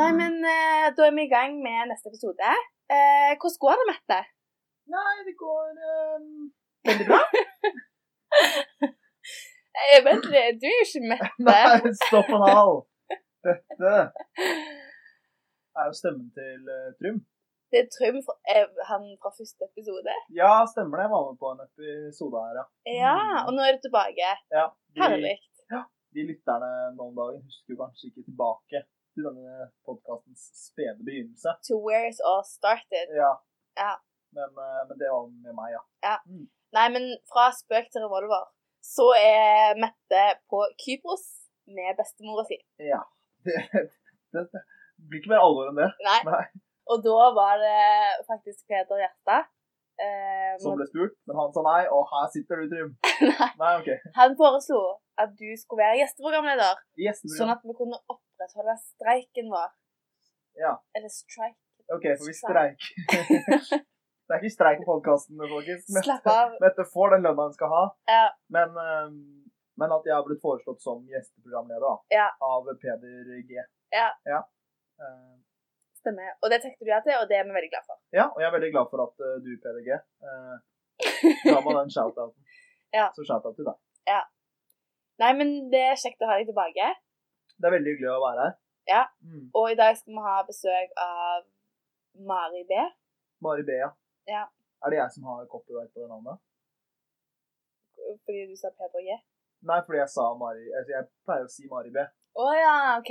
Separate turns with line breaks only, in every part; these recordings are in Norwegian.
Nei, men eh, da er vi i gang med neste episode. Eh, hvordan går det, Mette?
Nei, det går ehm, veldig bra.
Jeg vet det, Eh, du er jo ikke Mette.
Nei, stopp en hal. Dette er jo stemmen til eh, Trym.
Det er Trym, fra- eh, han fra første episode.
Ja, stemmer det. Jeg var med på en episode her, ja.
Ja, og nå er du tilbake.
ja de,
Herlig.
de lytterne nå om dagen husker kanskje ikke tilbake til denne podkastens spede begynnelse.
To where it all started.
Ja.
Ja.
Men, eh, men det var med meg, ja.
Nei, men fra spøk til revolver, så er Mette på Kypros med bestemora si.
Ja. Det, det, det blir ikke mer alvor enn det
Nei.
Nei.
Og da var det faktisk Peder Hjerta. eh,
som ble spurt. Men han sa nei, og her sitter du, Trym.
Nei.
Nei, OK.
Han foreslo at du skulle være gjesteprogramleder. Sånn
Gjesteprogram.
at vi kunne opprettholde streiken vår.
Ja.
Eller streik.
OK, for vi streiker. det er ikke streik på podkasten, folkens. Mette-
Slapp av.
Mette får den lønna hun skal ha.
Ja.
Men, eh, men at jeg har blitt foreslått som gjesteprogramleder da,
Ja.
av Peder G.
Ja.
Eh,
Stemmer. Og det takket du ja til, og det er vi veldig glad for.
ja, og jeg er veldig glad for at eh, du, Peder G, eh, ga meg den shout-outen.
Ja.
Så shout-out til deg.
Nei, men det er kjekt å ha deg tilbake.
Det er veldig hyggelig å være her.
Ja.
Mm.
Og i dag skal vi ha besøk av Mari B.
Mari Bea.
Ja.
Er det jeg som har copyright på det navnet?
Fordi du sa Peder G.
Nei, fordi jeg sa Mari altså Jeg pleier å si Mari B.
Å ja, OK.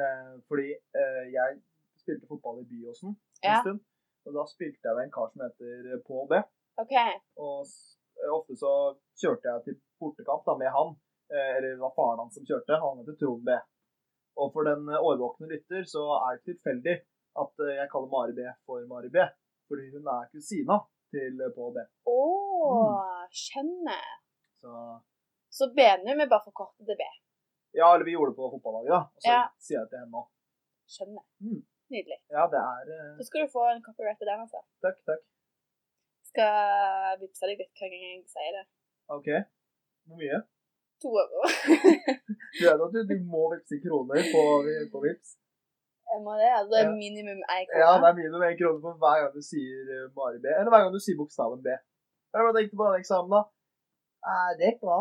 Eh, fordi eh, jeg spilte fotball i Byåsen en
Ja.
stund. Og da spilte jeg med en kar som heter eh, Pål B.
OK.
Og s- eh, ofte så kjørte jeg til bortekamp da, med han. Eh, eller det var faren hans som kjørte. Han heter Trond B. Og for den eh, årvåkne lytter så er det tilfeldig at eh, jeg kaller Mari B for Mari B. Fordi hun er kusina til eh, Pål B.
Å,
Mm.
skjønner.
Så
Så Benum er bare forkortet til B.
Ja, eller vi gjorde det på fotballaget, da. Og så
Ja.
sier jeg til henne nå.
Skjønner.
Mm.
Nydelig.
Ja, det er eh,
Så skal du få en copyright på den. altså.
Takk, takk.
Skal vippse deg litt hver gang jeg sier det.
OK. Hvor mye?
To år.
Du vet at du, du må vippse kroner på, på vips.
Jeg må det. Altså, det er
Ja.
minimum én krone.
Ja, det er minimum én krone på hver gang du sier eh, bare B. Eller hver gang du sier bokstaven B. Eller hva tenkte du på den eksamen, da? Eh, det gikk bra.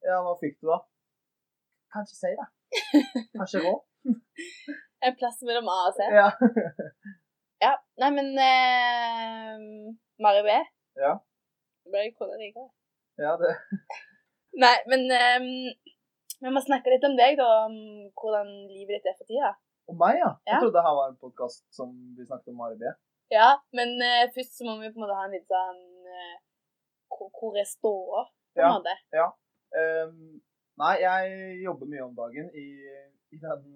Ja, hva fikk du, da? Kanskje si det. Kanskje rå.
En plass mellom A og C.
Ja.
Ja. Nei, men eh, Mari B.
Ja.
Det ble kona di ikke?
ja, det
Nei, men eh, vi må snakke litt om deg, da. Om hvordan livet ditt er for tida.
Og meg, ja. Jeg
Ja.
trodde her var en podkast som vi snakket om bare B.
Ja, men eh, først så må vi på en måte ha en litt sånn eh, hvor- Hvor er ståa, på en
Ja.
måte?
Ehm, nei, jeg jobber mye om dagen i, i den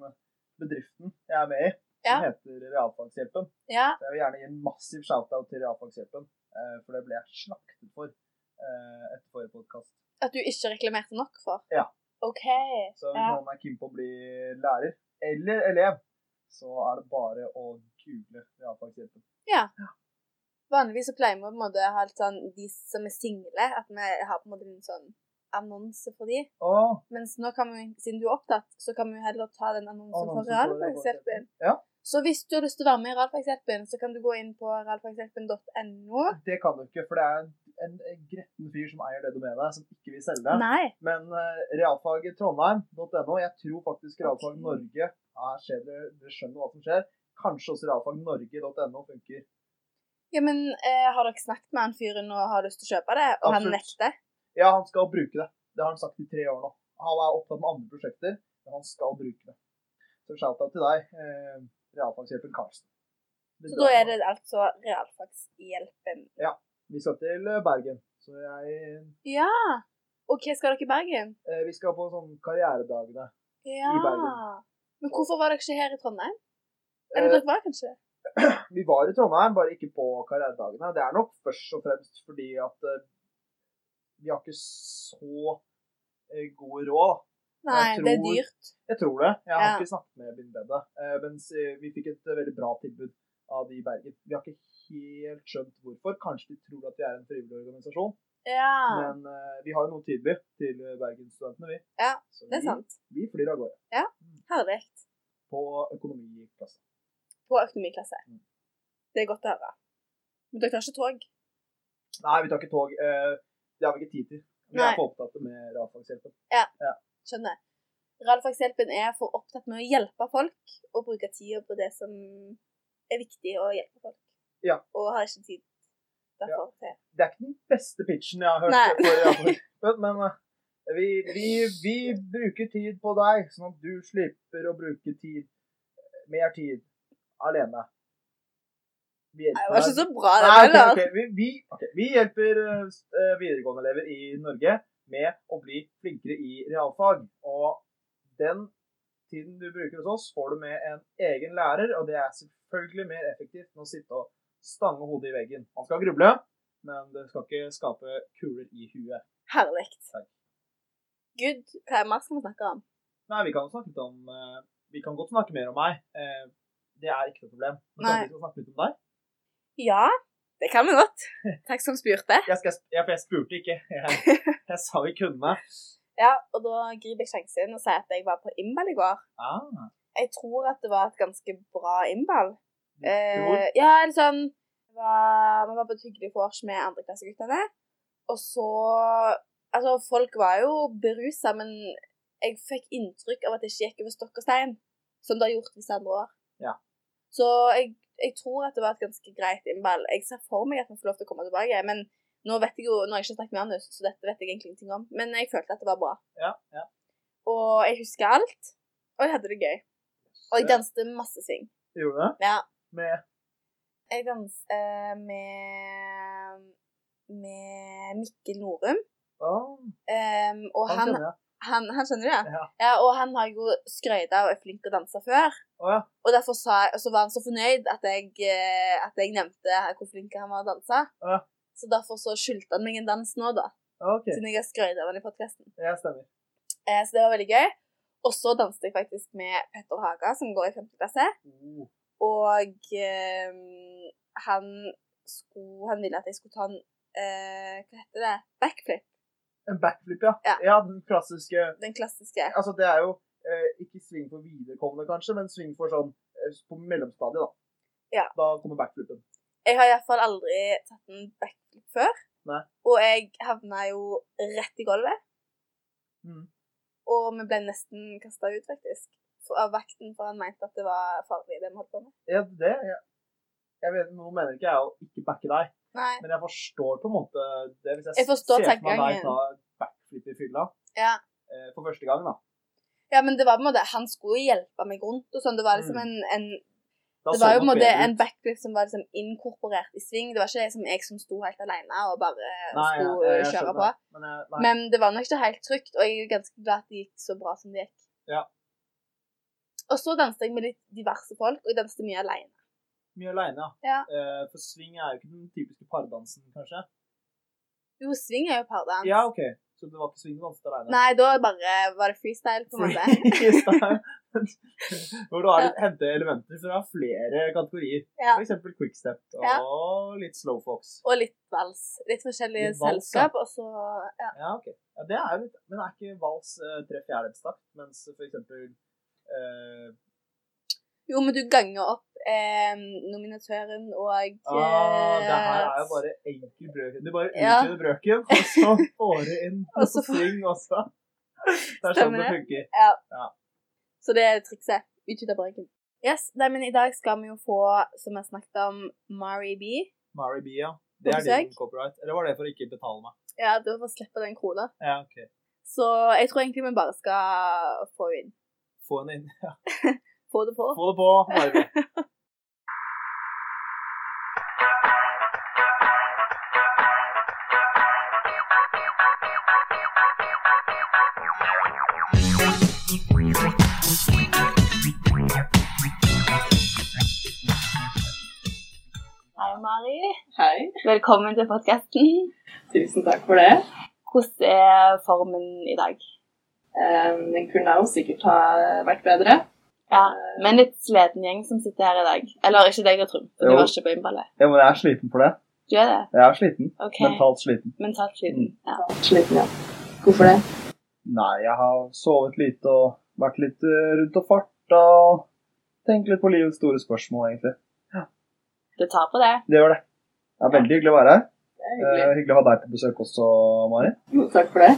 bedriften jeg er med i, som heter Realfagshjelpen.
Ja.
Så jeg vil gjerne gi en massiv shout-out til realfagshjelpen, eh, for det ble jeg slaktet for eh, etter forrige podkast.
At du ikke reklamerte nok for?
Ja.
OK.
Så hvis
Ja.
noen er keen på å bli lærer eller elev, så er det bare å google realfagshjelpen.
Vanligvis så pleier vi å på en måte ha litt sånn de som er single, at vi har på en måte en sånn annonse for de.
Å,
Mens nå kan vi, siden du er opptatt, så kan vi jo heller ta den annonsen for
Annonsen for
Realfagshjelpen.
Ja.
Så hvis du har lyst til å være med i Realfagshjelpen, så kan du gå inn på realfagshjelpen.no.
det kan du ikke, for det er en, en, gretten fyr som eier det domenet, som ikke vil selge.
Nei.
Men eh, realfagtrondheim.no, jeg tror faktisk Realfag
Ok.
Norge her skjer det, dere skjønner hva som skjer. Kanskje også realfagnorge.no funker.
Ja, men eh, har dere snakket med han fyren og har lyst til å kjøpe det, og han
Absolutt.
nekter?
Ja, han skal bruke det. Det har han sagt i tre år nå. Han er opptatt med andre prosjekter, men han skal bruke det. Så shout-out til deg, eh, realfagshjelpen Karlsen.
Så da er det altså Realfagshjelpen.
Vi skal til eh, Bergen. Så jeg,
Ja. Og hva skal dere i Bergen?
eh, vi skal på sånn karrieredagene.
Ja.
Bergen.
Men hvorfor var dere ikke her i Trondheim? Eller
Eh,
dere var kanskje?
vi var i Trondheim, bare ikke på karrieredagene. Det er nok først og fremst fordi at eh, vi har ikke så eh, god råd.
Nei,
jeg
det er
tror-
dyrt.
Jeg tror det. Jeg har
Ja.
ikke snakket med Bindbedet. Eh, mens eh, vi fikk et eh, veldig bra tilbud av de i Bergen. Vi har ikke helt skjønt hvorfor. Kanskje de tror at vi er en frivillig organisasjon.
Ja,
Men eh, vi har jo noe å tilby til eh, bergensstudentene, vi.
Ja,
Så
det er sant.
Vi, vi flyr av gårde.
Herlig.
På på økonomiklasse.
På økonomiklasse.
Mm.
Det er godt å høre. Men dere tar ikke tog?
Nei, vi tar ikke tog. eh, Det har vi ikke tid til. Vi
Nei.
er for opptatt med realfagshjelpen.
Skjønner. Realfagshjelpen er for opptatt med å hjelpe folk, og bruke tida på det som er viktig å hjelpe folk.
Ja.
Og har ikke tid derfor til.
Det er ikke den beste pitchen jeg har hørt.
Nei.
for realfag. Men- Men eh, vi, vi, vi bruker tid på deg, sånn at du slipper å bruke tid mer tid alene. Vi
Nei,
hjelper
Det var
deg.
ikke så bra, det
Nei, Ah, ok,
heller.
ok. Vi, vi, ok. vi hjelper eh, videregående-elever i Norge med å bli flinkere i realfag. Og den tiden du bruker hos oss, får du med en egen lærer, og det er selvfølgelig mer effektivt enn å sitte og stange hodet i veggen. Man skal gruble, men det skal ikke skape kuler i huet.
Herlig.
Takk.
Gud, hva er det mer skal vi snakke om?
Nei, vi kan snakke litt om eh, Vi kan godt snakke mer om meg. Eh, Det er ikke noe problem. Men
Nei.
kanskje vi skal snakke litt om deg?
Ja, det kan vi godt. Takk som spurte.
Jeg, skal, jeg, jeg spurte ikke. Jeg, jeg sa vi kunne.
Ja, og da griper jeg sjansen og sier at jeg var på Imbal i går.
Ah.
Jeg tror at det var et ganske bra Imbal.
Du tror?
Eh, ja, eller sånn det var- Vi var på et hyggelig vors med andreklasseguttene, og så Altså, folk var jo berusa, men jeg fikk inntrykk av at det ikke gikk over stokk og stein, som det har gjort disse andre år.
Ja.
Så jeg, jeg tror at det var et ganske greit innball. Jeg ser for meg at vi får lov til å komme tilbake, men nå vet jeg jo, nå har jeg ikke snakket med Anus, så dette vet jeg egentlig ingenting om. Men jeg følte at det var bra.
Ja, ja.
Og jeg husker alt, og jeg hadde det gøy. Og jeg danste masse sving.
Gjorde du det?
Ja.
Med
Jeg danset eh, med med Mikkel Norum.
ah,
Em, og
Han
han,
kjenner jeg.
han, han skjønner du det?
Ja.
Ja, og han har jo skrøyta og er flink til å danse før.
Å ja.
Og derfor sa jeg, og så var han så fornøyd at jeg, eh, at jeg nevnte her hvor flink han var å danse.
Ja.
Så derfor så skyldte han meg en dans nå, da.
OK.
Siden jeg har skrøyt av han i podkasten.
Jeg stemmer.
Eh, så det var veldig gøy. Og så danset jeg faktisk med Petter Haga, som går i 5. klasse.
Oh,
Og eh, han, skulle, han ville at jeg skulle ta en eh, Hva heter det? Backflip.
en backflip, ja.
Ja.
Den klassiske
Den klassiske.
Altså, det er jo eh, ikke sving for viderekommende, kanskje, men sving for sånn eh, på mellomstadiet, da.
Ja.
Da kommer backflipen.
Jeg har iallfall aldri tatt en backflip før.
Nei.
Og jeg havna jo rett i gulvet.
Mhm.
Og vi ble nesten kasta ut, faktisk. For, av vakten, for han mente at det var farlig, det vi holdt på med.
Er det det? Jeg, jeg vet, nå mener ikke jeg å ikke backe deg,
Nei.
men jeg forstår på en måte det. Hvis jeg,
Jeg forstår
ser for meg
tankegangen.
deg ta backflip i fylla
Ja.
eh, for første gang, da.
ja, men det var på en måte Han skulle jo hjelpe meg rundt og sånn. Det var liksom
Mm.
en, en
da
Det
så
var jo på
nok
en måte
bedre ut.
en backflip som var liksom inkorporert i sving. Det var ikke liksom jeg som sto helt alene og bare eh,
Nei, ja,
skulle
jeg
kjøre
skjønner.
på.
Men, eh, nei.
Men det var nok ikke helt trygt, og jeg er ganske glad at det gikk så bra som det gikk.
Ja.
Og så danset jeg med litt diverse folk, og jeg danset mye alene.
Mye aleine,
Ja.
Eh, for swing er jo ikke den typiske pardansen, kanskje?
Jo, swing er jo pardans.
Ja, OK. Så det var ikke swing du danset aleine?
Nei, da bare var det freestyle, på en måte.
Hvor du har litt, henter elementer fra flere kategorier.
Ja.
F.eks. quickstep og litt slowfox.
Og litt vals. Litt forskjellige
Litt vals, ja.
selskap, og så ja.
Ja, OK. Ja, det er jo litt, men er ikke vals eh, tre fjerdedelstakt, mens f.eks. Eh,
Jo, men du ganger opp eh, nominatøren og eh,
ah, det her er jo bare enkel brøken. Du bare
Ja.
utvider brøken, og så får du inn
Og
noe
så får-
swing også. Det er sånn
Stemmer
det
det.
funker.
Så det er trikset. Utvide brøken. Yes, nei, men I dag skal vi jo få, som jeg snakket om, Mari B.
Mari B, ja. Det er
Hvorfor
din copyright. Eller var det for å ikke betale meg?
Ja, du får slippe den krona.
Ja, ok.
Så jeg tror egentlig vi bare skal få inn.
Få henne inn.
Få det på.
Få det på, Mari B.
Hei, Mari.
Hei,
Velkommen til podkasten.
tusen takk for det.
Hvordan er formen i dag?
Eh,
Ehm,
Den kunne jo sikkert ha vært bedre.
Ja,
Eh,
Men litt sliten gjeng som sitter her i dag. Eller ikke deg, da, Trym. for Du
Jo.
var ikke på innballet.
Ja, men jeg er sliten for det.
Du er det?
Jeg er sliten.
OK.
Mentalt sliten.
Mentalt sliten. Ja.
Eh, Sliten, ja. Hvorfor det?
Nei, jeg har sovet lite og vært litt eh, rundt og farta. og Tenk litt på livets store spørsmål, egentlig.
Det tar på det.
Det gjør det. Det er veldig hyggelig å være her.
Det er
Eh,
hyggelig.
hyggelig å ha deg på besøk også, Mari.
Jo, takk for det.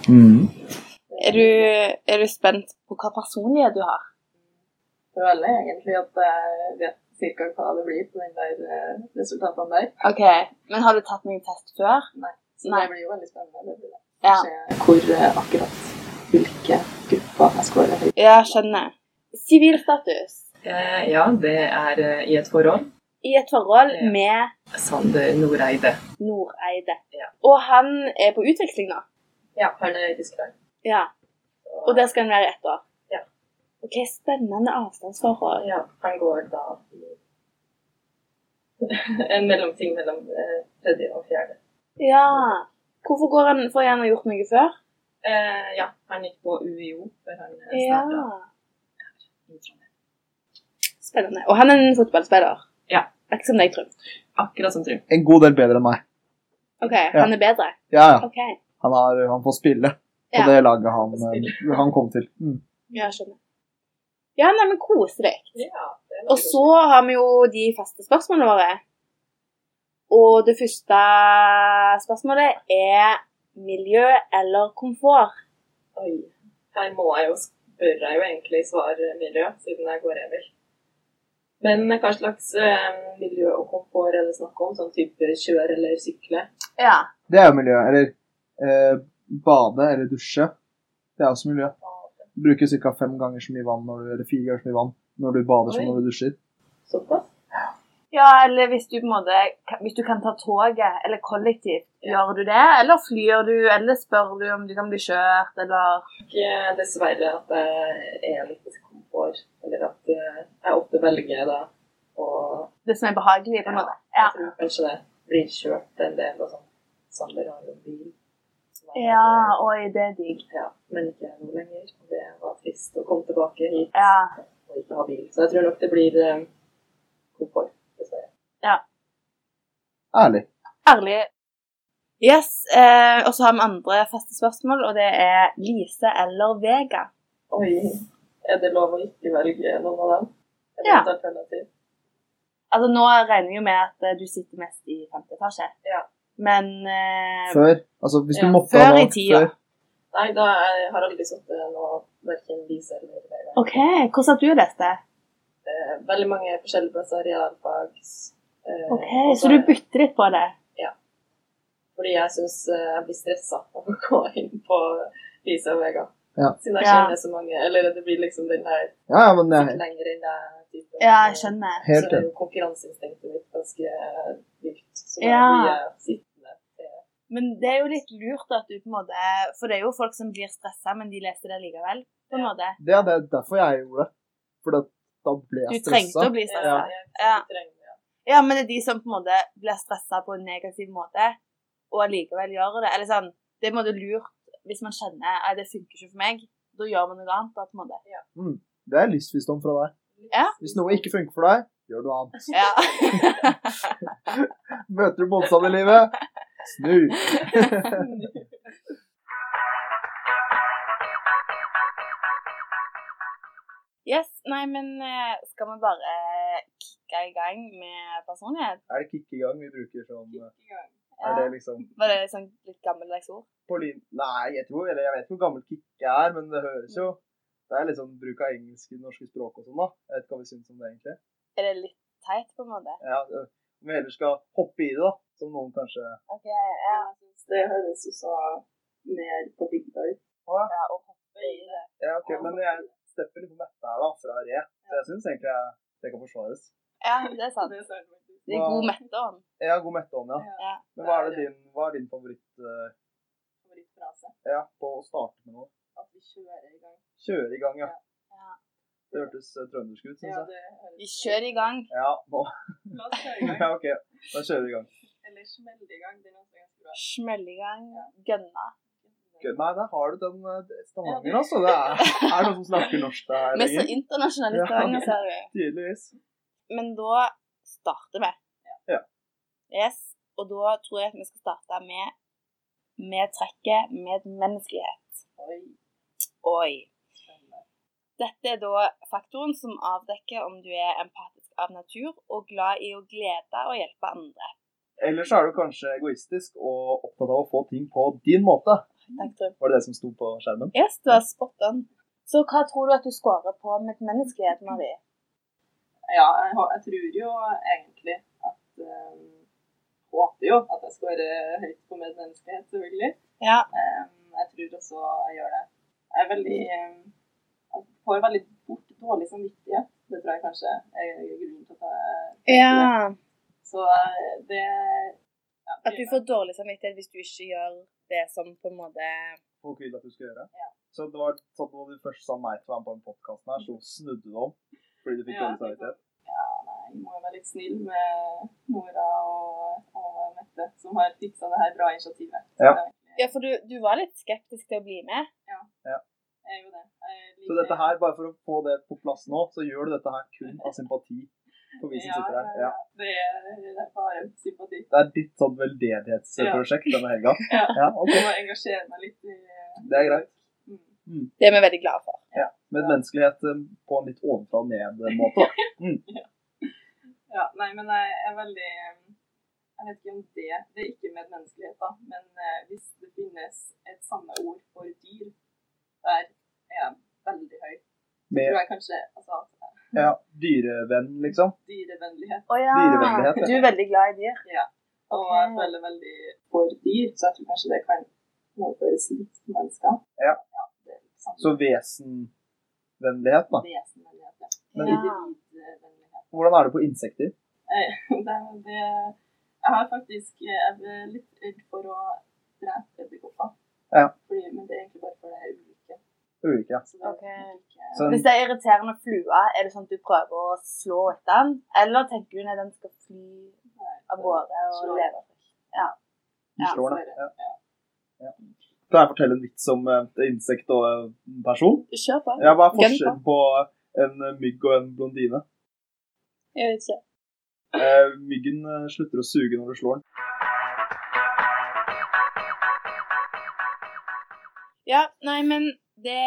Er du, er du spent på hva personlighet du har?
Føler jeg egentlig at jeg vet cirka hva det blir på den der eh, resultatene der.
Ok, Men har du tatt noen test før?
Så
Nei.
det blir jo veldig spennende. Det blir det.
Ja.
Se hvor eh, akkurat hvilke grupper jeg scorer høyt.
Ja, skjønner. Sivilstatus
Eh, ja, det er eh, i et forhold.
i et forhold
Ja.
med
Sander Noreide.
Noreide.
Ja.
Og han er på utveksling nå.
Ja, han er i Tyskland.
Ja. Og der skal han være i ett år.
Ja.
Ok, spennende avstandsforhold.
Ja, han går da i en mellomting mellom eh, tredje og fjerde.
Ja. Hvorfor går han, for han har gjort noe før?
Eh, ja, han gikk på UiO før han eh,
Ja.
startet i Trondheim.
Spennende. Og han er en fotballspiller.
Ja.
Ikke som deg, Trym.
Akkurat som Trym.
En god del bedre enn meg.
Ok, han er bedre.
Ja, ja.
Ok.
Han, har, han får spille på
Ja.
det laget han, eh, han kom til. Mm.
Ja, skjønner. Ja, nei, men kos deg.
Ja, det
Og så har vi jo de faste spørsmålene våre. Og det første spørsmålet er miljø eller komfort.
Oi. Her må jeg jo spørre jeg jo egentlig svar miljø, siden jeg går Emil. Men hva slags eh, miljø og komfort er det snakk om? Sånn type kjøre eller sykle?
Ja.
Det er jo miljø. Eller eh, bade eller dusje. Det er også miljø. Du bruker ca. fem ganger så mye vann når du, eller fire ganger så mye vann når du bader som
Oi.
når du dusjer.
Såpass?
Ja, eller hvis du på en måte hvis du kan ta toget eller kollektivt, gjør du det? Eller flyr du, eller spør du om du kan bli kjørt, eller
Ikke eh, dessverre at jeg er litt komfort, eller at eh, jeg ofte velger da å
det som er behagelig, på en måte. Ja.
Jeg tror kanskje det blir kjørt en del og sånn. Sander har jo bil. Så da-
Ja, oi, det er digg.
ja. Men ikke nå lenger. Det var trist å komme tilbake hit.
Ja.
og ikke ha bil. Så jeg tror nok det blir eh, komfort, dessverre.
Ærlig.
Ærlig. Yes, eh, og så har vi andre faste spørsmål, og det er Lise eller Vega.
Oi, er det lov å ikke velge noen av dem? Er det
Ja.
et alternativ?
Altså, nå regner jeg jo med at eh, du sitter mest i femte etasje.
Ja.
Men eh,
Før. Altså, hvis du
Ja,
måtte
før
ha
i
valgt
tida.
før
Nei, da jeg har aldri sittet noe verken Lise eller Vegard.
OK, hvordan har du lest det?
Eh, Veldig mange forskjellige plasser, realfag eh,
Ok,
og
Så du bytter litt på det?
Fordi jeg syns jeg blir stressa av å gå inn på Lise og Vegard.
Ja.
Siden jeg
Ja.
kjenner så mange. Eller det blir liksom den her
Ja, ja, men jeg
sitt lenger enn deg-typen.
Ja, jeg skjønner.
helt
Så er
enig.
jo konkurranseinstinktet mitt ganske vilt. Så da
Ja.
blir jeg sittende.
Men det er jo litt lurt at du på en måte For det er jo folk som blir stressa, men de leser det likevel, på en måte.
Det er det, derfor jeg gjorde det. For det- da ble
Du
jeg
trengte
stressa.
å bli stressa.
Ja.
Ja.
jeg trenger det.
Ja, men det er de som på en måte blir stressa på en negativ måte, og allikevel gjør det. Eller sånn, det er på en måte lurt hvis man skjønner at det funker ikke for meg. Da gjør man noe annet. da, på en måte.
Det er livsvisdom fra deg.
Ja.
Hvis noe ikke funker for deg, gjør du annet.
Ja.
Møter du motstand i livet, snu.
yes, nei, men eh, skal vi bare kicke i gang med personlighet?
Er det kickegang vi bruker som
Ja.
Er det liksom
Var det sånn litt gammeldags ord?
på lin... Nei, jeg tror Eller jeg vet ikke hvor gammel kick er, men det høres jo Det er liksom bruk av engelsk i det norske språket og sånn, da. Jeg vet ikke hva vi syns om det, egentlig.
Er det litt teit, på en måte?
Ja, øh, Om vi heller skal hoppe i det, da. Som noen kanskje
Ok, ja.
Det høres jo så mer på bygda ut.
ja og hoppe i det.
Ja, ok, men jeg stepper litt på metta her, da, fra re. Så jeg syns egentlig jeg, det kan forsvares.
Ja, det er sant. Det er god metteånd.
Jeg har god metteånd, ja.
Ja.
Men hva er, det din, hva er din favoritt øh,
Favorittfrase.
ja, på å starte med noe?
At vi kjører i gang.
Kjøre i gang, ja.
Ja.
Det hørtes øh, trøndersk ut, syns jeg.
det høres
Vi kjører i gang.
Ja, nå.
La oss kjøre i gang.
ja, ok. Da kjører vi i gang.
Eller smelle i gang. Det er også ganske bra.
Smelle i gang. Gønna.
Gud, Nei, der har du den øh, Stavanger, altså. Det er, er det noen som snakker norsk der
Vi er så
lenger.
internasjonale i
Ja.
Stavanger, ser du.
Tydeligvis.
Men da starter vi.
Ja.
Yes. Og da tror jeg at vi skal starte med med trekket medmenneskelighet.
Oi.
Oi. Dette er da faktoren som avdekker om du er empatisk av natur og glad i å glede og hjelpe andre.
Eller så er du kanskje egoistisk og opptatt av å få ting på din måte.
Mm. Takk, Trym.
Var det det som sto på skjermen?
Yes, du er spot on. Så hva tror du at du scorer på med menneskelighet, Marie?
Ja, jeg, hå- jeg tror jo egentlig at eh, Håper jo at jeg scorer høyt på medmenneskelighet, selvfølgelig.
Ja.
Eh, jeg tror også jeg gjør det. Jeg er veldig eh, Jeg får veldig fort dårlig samvittighet. Det tror jeg kanskje er grunnen til at jeg Så eh, det ja,
At du får dårlig samvittighet hvis du ikke gjør det som på en måte
Folk vil at du skal gjøre.
Ja.
Så det var sånn at du først sa nei til å være med på den podkasten her, så snudde du om fordi du fikk
Ja.
dårlig samvittighet.
Nei, må jo være litt snill med Nora og, og Mette, som har fiksa det her bra initiativet.
Ja.
Ja, for du, du var litt skeptisk til å bli med.
Jeg er jo det. Jeg liker-
Så dette her, bare for å få det på plass nå, så gjør du dette her kun av sympati for vi som sitter her. Ja.
eh, Det er, det er bare sympati.
Det er ditt sånn veldedighetsprosjekt denne helga.
Ja.
Ja, ok.
Jeg må engasjere meg litt i
Det er greit.
Mm.
Det er vi veldig glade for.
Med menneskelighet eh, på en litt ovenfra og ned-måte.
Ja, nei, men jeg er veldig eh, Jeg vet ikke om det Det er ikke medmenneskelighet, da. Men eh, hvis det finnes et samme ord for dyr, der er jeg veldig høy. Jeg
Med
tror jeg kanskje altså,
ja, dyrevenn, liksom.
dyrevennlighet.
Å ja.
Dyrevennlighet, ja.
Du er veldig glad i dyr.
Og
Ok.
jeg føler veldig for dyr, så jeg tror kanskje det kan overføres litt til mennesker.
Ja.
det er samme
Så vesenvennlighet, da.
vesenvennlighet, ja.
Men-
Individvennlighet.
Hvordan er det på insekter?
Eh, Det, det, jeg har faktisk eh, jeg er litt redd for å drepe edderkopper.
Ja.
Fordi- Men det er egentlig bare for det er ulike.
Ulike.
Så det er
Ok.
ikke-
Så
Hvis det er irriterende flue, er det sånn at du prøver å slå etter den? Eller tenker du at den skal fly
Nei,
av gårde og
Slå.
leve?
de
Ja,
slår,
så er
da.
det-
Ja. Ja. Kan jeg fortelle en vits om eh, et insekt og en person?
Kjør på.
Ja, Hva er
Gun på.
forskjellen på en eh, mygg og en blondine?
Jeg vet ikke.
Eh, Myggen eh, slutter å suge når du slår den.
Ja, nei, men det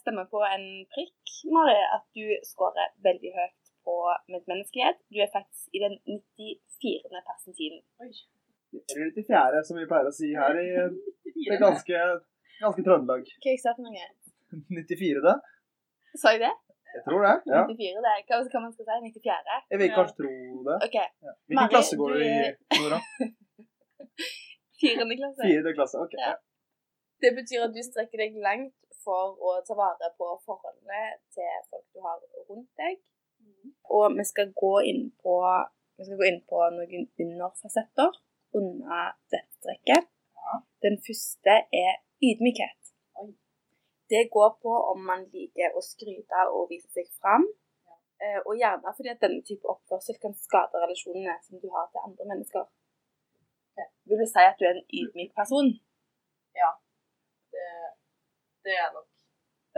stemmer på en prikk, Marie, at du scorer veldig høyt på medmenneskelighet. Du er faktisk i den 94. persentilen.
Oi.
Eller til fjerde, som vi pleier å si her i eh, det
Fire.
ganske, ganske Trøndelag.
Hva jeg sa for noe?
94, det?
Sa jeg det?
Jeg tror det. ja.
94, det. Hva, hva man skal si? 94?
Jeg vil
Ja.
kanskje tro det.
OK.
Hvilken
Mari,
klasse går
du
du i,
er-
Nora?
4. klasse.
Fjerde klasse. ok.
Ja. Det betyr at du strekker deg langt for å ta vare på forholdene til folk du har rundt deg. Og vi skal gå inn på, vi skal gå inn på noen underfasetter under dette trekket. Den første er ydmykhet.
Oi.
Det går på om man liker å skryte og vise seg fram. eh, Og gjerne fordi at denne type oppførsel kan skade relasjonene som du har til andre mennesker. Vil du si at du er en ydmyk person?
Det, det er nok.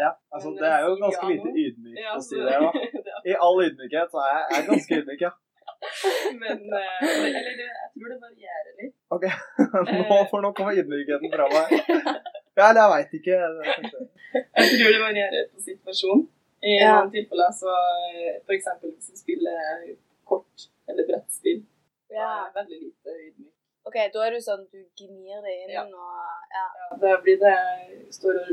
Ja, altså,
Men
det er jo
si
ganske
ja
lite
nå.
ydmykt
Ja, altså.
å si
så-
det. da. I all ydmykhet så er jeg, jeg er ganske ydmyk, ja.
Men eh, eller, det- jeg tror det varierer litt.
Nå, for nå kommer ydmykheten fra meg. Ja, eller jeg veit ikke.
Jeg tror det varierer på situasjon. I
Ja.
noen tilfeller så eh, for eksempel hvis du spiller kort eller brettspill, så er jeg veldig lite ydmyk.
Ok, da er du sånn du gnir deg inn
Ja.
og ja.
Ja, Da blir det står og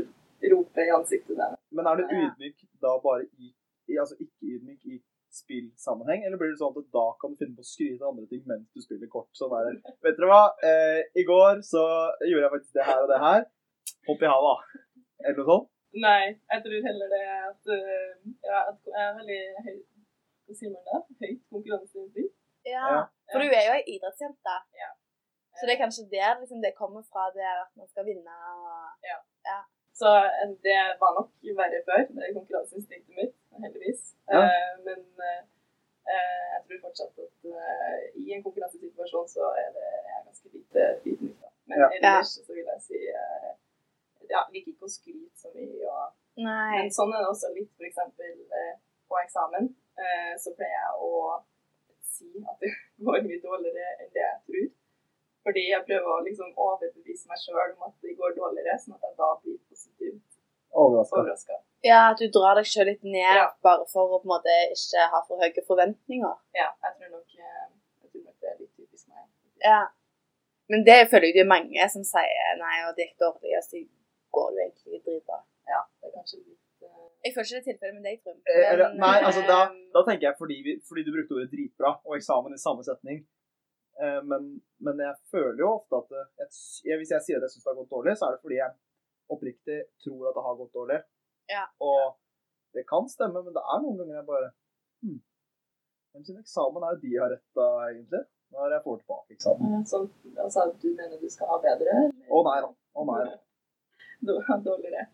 roper i ansiktet der.
Men er du ydmyk da bare i, i Altså ikke ydmyk i spillsammenheng, eller blir det sånn at da kan du finne på å skryte av andre ting mens du spiller kort? Sånn er det. Vet dere hva? Eh, I går så gjorde jeg faktisk det her og det her. Hopp i havet, da. Eller noe sånt.
Nei, jeg tror heller det er at eh, ja, at jeg er veldig høy Hva sier man da? Høyt konkurranseinstinkt.
ja.
Ja.
For du er jo ei idrettsjente.
Ja.
Så det er kanskje der liksom, det kommer fra, det er at man skal vinne og
Så eh, det var nok verre før, det er konkurranseinstinktet mitt, heldigvis.
Ja.
Eh, Men eh, eh, jeg tror fortsatt at eh, i en konkurransesituasjon så er det er jeg ganske lite ydmyk. da. Men
Ja.
ellers så vil jeg si eh, ja, liker ikke å skryte så mye. Og,
Nei.
men sånn er det også litt f.eks. på eksamen. eh, Så pleier jeg å si at det går mye dårligere enn det jeg tror. Fordi jeg prøver å liksom overbevise meg sjøl om at det går dårligere, sånn at jeg da blir positivt
Overraska.
overraska.
Ja, at du drar deg sjøl litt ned
Ja.
bare for å på en måte ikke ha for høye forventninger.
Ja, jeg tror nok, eh, jeg tror nok det er litt typisk meg.
Ja. Men det føler jeg det er mange som sier nei, og det gikk dårlig, og så går det jo egentlig dritbra.
Ja, det er kanskje litt eh,
Jeg føler ikke det er tilfellet med deg, Trym.
Eh, eller-
men,
nei, altså,
ehm,
Da tenker jeg fordi, vi, fordi du brukte ordet dritbra og eksamen i samme setning. Eh, men, men jeg føler jo ofte at eh, jeg, s- jeg, hvis jeg sier at jeg syns det har gått dårlig, så er det fordi jeg oppriktig tror at det har gått dårlig.
Ja.
Og det kan stemme, men det er noen ganger jeg bare hm, Hvem sin eksamen er det de har retta, egentlig? Når jeg får tilbake eksamen.
sånn, altså, Du mener du skal ha bedre?
Å nei da. Å nei da.
Dår- Dårligere.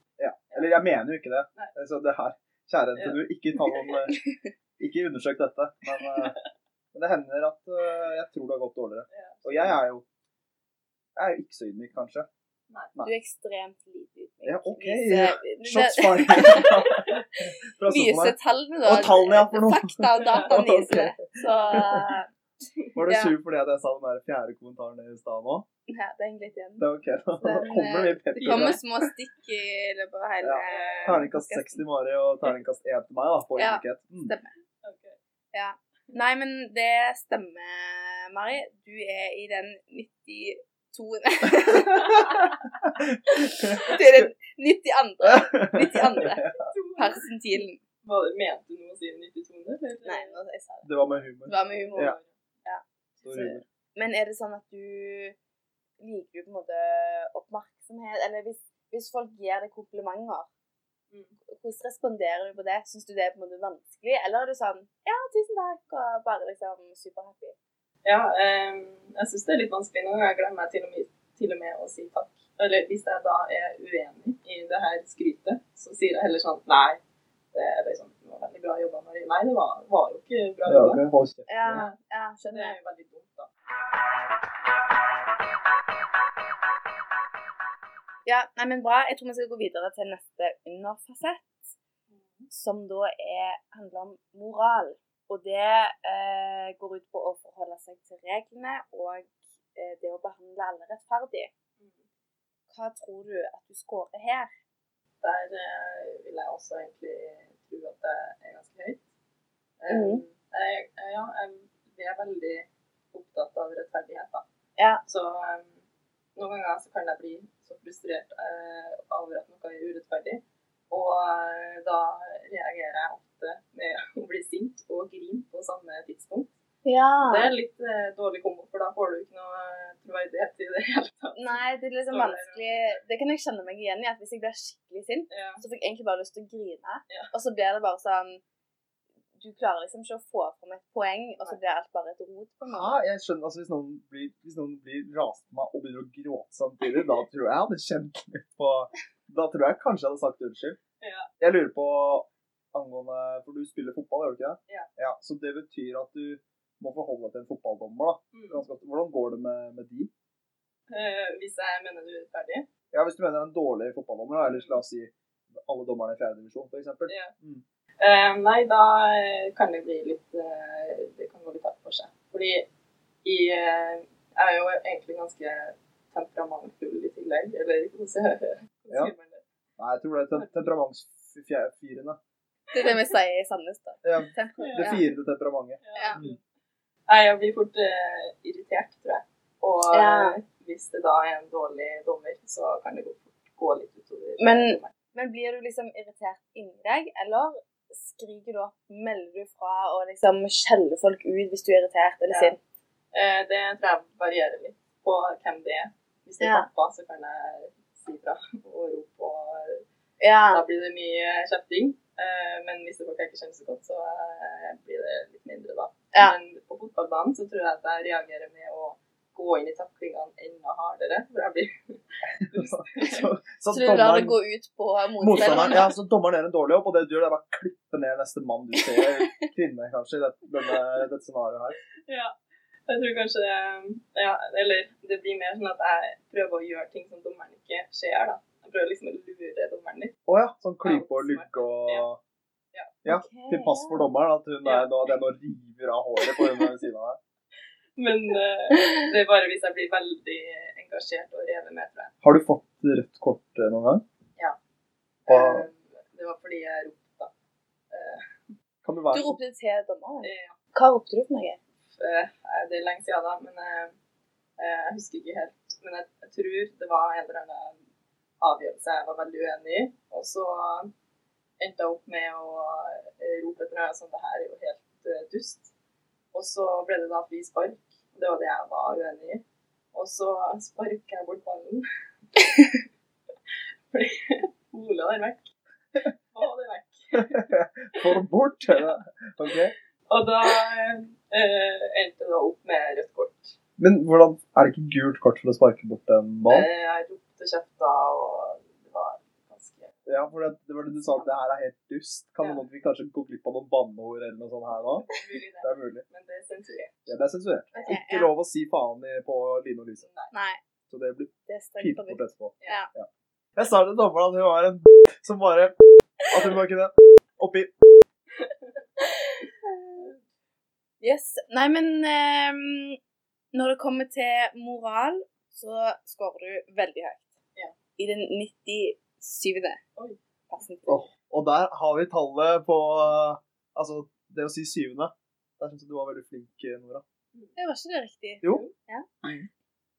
Eller jeg mener jo ikke det.
Nei.
Så det her, kjære jente, du, ikke ta noen eh, Ikke undersøk dette. Men, eh, men det hender at eh, jeg tror det har gått dårligere.
Ja.
Og jeg er jo jeg er jo ikke så ydmyk, kanskje.
Du er ekstremt lite ydmyk.
Ja, OK.
Viser-
Shots
det-
fired. Fra
Viser
sofaen.
tallene, da.
Og tallene, ja, for noe.
Fakta og dataen
Ja, ok.
viser det. Så eh,
Var du
ja.
sur fordi at jeg sa den der fjerde kommentaren i stad nå?
ja, det henger litt igjen.
Det er OK. Da
Den,
kommer det mye
eh,
pepper.
Det kommer små stikk i løpet av hele
Terningkast seks til Mari og terningkast én til meg da, på
Ja.
ydmykhet. Mm.
Okay.
Nei, men det stemmer, Mari. Du er i den 92. Du er den 92. 92. persentilen.
Hva- Mente du noe å si 9200? eller?
Nei, nå, jeg sa det.
Det var med humor.
Det var med humor.
Ja.
Så-
Stor humor.
Men er det sånn at du liker du på en måte oppmerksomhet? Eller hvis, hvis folk gir deg komplimenter,
Mm.
hvordan responderer du på det? Syns du det er på en måte vanskelig, eller er du sånn Ja, tusen takk, og bare liksom superhappy?
Ja, eh, jeg syns det er litt vanskelig noen ganger. Jeg glemmer jeg til og, med, til og med å si takk. Eller hvis jeg da er uenig i det her skrytet, så sier jeg heller sånn nei. Det er liksom det var veldig bra jobba, Marie. Nei, det var, var jo ikke bra
Ja,
jobba.
ok, hold kjeft.
Ja, ja
Det
skjønner
er
jeg.
jo veldig dumt, da.
Ja, nei, men bra. Jeg tror vi skal gå videre til neste underfasett,
Mm.
som da er, handler om moral. Og det eh, går ut på å forholde seg til reglene og eh, det å behandle alle rettferdig.
Mm.
Hva tror du at du scorer her?
Der eh, vil jeg også egentlig tro at det er ganske høyt. Eh,
Mhm.
jeg, jeg- ja, jeg, vi er veldig opptatt av rettferdighet, da.
Ja.
Så eh, noen ganger så kan jeg bli så frustrert eh, over at noe er urettferdig. Og eh, da reagerer jeg ofte med å bli sint og grine på samme tidspunkt. Det
Ja.
er litt eh, dårlig kombo, for da får du ikke noe eh, troverdighet i det hele tatt.
Nei, det er liksom
Dårligere.
vanskelig Det kan jeg kjenne meg igjen i. at Hvis jeg blir skikkelig sint,
Ja.
så får jeg egentlig bare lyst til å grine.
Ja.
Og så blir det bare sånn Du klarer liksom ikke å få fram et poeng, og så blir alt bare et rot. på en måte.
Ja, jeg skjønner, altså Hvis noen blir, hvis noen blir raset på meg og begynner å gråte samtidig, da tror jeg jeg hadde kjent litt på Da tror jeg kanskje jeg hadde sagt unnskyld.
Ja.
Jeg lurer på angående For du spiller fotball, gjør du ikke det?
Ja.
Så det betyr at du må forholde deg til en fotballdommer, da.
Mm.
Ganske ofte. Hvordan går det med, med de?
Eh, hvis jeg mener du er urettferdig.
Ja, Hvis du mener en dårlig fotballdommer, da, eller la oss si alle dommerne i fjerde divisjon, f.eks.
Ja.
Mm.
Eh, nei, da eh, kan det bli litt eh, Det kan gå litt hardt for seg. Fordi i, eh, jeg er jo egentlig ganske temperamentfull i tillegg. Eller hvordan sier
Ja.
hvordan sier man det?
Nei, jeg tror det er tem- temperamentsfirene.
Det er det vi sier i Sandnes, da.
Ja,
Tempo.
det
Ja.
firende temperamentet.
Ja.
Mm.
Nei, jeg blir fort eh, irritert, tror jeg. Og
Ja.
eh, hvis det da er en dårlig dommer, så kan det gå, gå litt utover.
Men- Men blir du liksom irritert inni deg, eller skriker du opp, melder du fra og liksom skjeller folk ut hvis du er irritert eller
Ja.
sint?
Eh, det tror jeg varierer litt på hvem det er. Hvis det er
Ja.
pappa, så kan jeg si fra og rope og Da
Ja.
blir det mye kjefting. eh, Men hvis det folk jeg ikke kjenner så godt, så eh, blir det litt mindre, da.
Ja.
Men på fotballbanen så tror jeg at jeg reagerer med å gå inn i taklingene enda hardere. For jeg blir
Så, så
Så du lar det
dommeren-
gå ut på
Motstanderen,
motstanderen?
ja, så dommeren gjør en dårlig jobb, og det du gjør, det er bare å klippe ned neste mann du ser, eller kvinne kanskje, i dette, denne, dette scenarioet her.
Ja. Jeg tror kanskje eh, Ja, eller det blir mer sånn at jeg prøver å gjøre ting som dommeren ikke ser, da. Jeg prøver liksom å lure dommeren litt.
Å ja, sånn klype og lugge og Ja,
Ok,
til pass for dommeren, at hun er, nå- det er noe river av håret på hun ved siden av deg.
Men eh, det er bare hvis jeg blir veldig engasjert og revet med, tror jeg.
Har du fått rødt kort eh, noen gang?
Ja.
Hva-
Eh, Det var fordi jeg ropte.
Kan du
Du
være
ropte til dommeren.
Eh,
Hva ropte du for noe?
Eh, Det er lenge siden da, men eh, eh, jeg husker ikke helt. Men jeg, jeg tror det var en eller annen avgjørelse jeg var veldig uenig i. Og så endte jeg opp med å eh, rope etter meg sånn, det her er jo helt eh, dust. Og så ble det da fri spark. og Det var det jeg var uenig i. Og så sparket jeg bort ballen. Fordi Ola der vekk. Og det vekk.
for bort? eller? Ok.
Og da eh, endte det opp med rødt kort.
Men hvordan, er det ikke gult kort for å sparke bort en ball?
Eh, Jeg ropte kjefta, og det var ganske
Ja, for det, det var det du sa at det her er helt dust. Kan
Ja.
noen vi kanskje gå glipp av noen banneord eller noe sånt her nå?
mulig, det.
Det er mulig.
Men det er sensurert.
Ja, det er sensurert.
Ok,
Ikke
ja.
lov å si faen i- på Line og Lise.
Nei.
Nei,
Så det blir
det er strengt
pipet bort
forbudt.
etterpå.
Ja.
Jeg sa til dommeren at hun var en som bare At hun bare kunne oppi
Yes. Nei, men ehm, når det kommer til moral, så scorer du veldig høyt.
Ja.
I den 97.
Oi.
plassen.
Åh. Og der har vi tallet på eh, Altså, det å si syvende. Der syns jeg du var veldig flink, eh, Nora.
Det var ikke det riktig.
Jo.
Ja.
Mhm.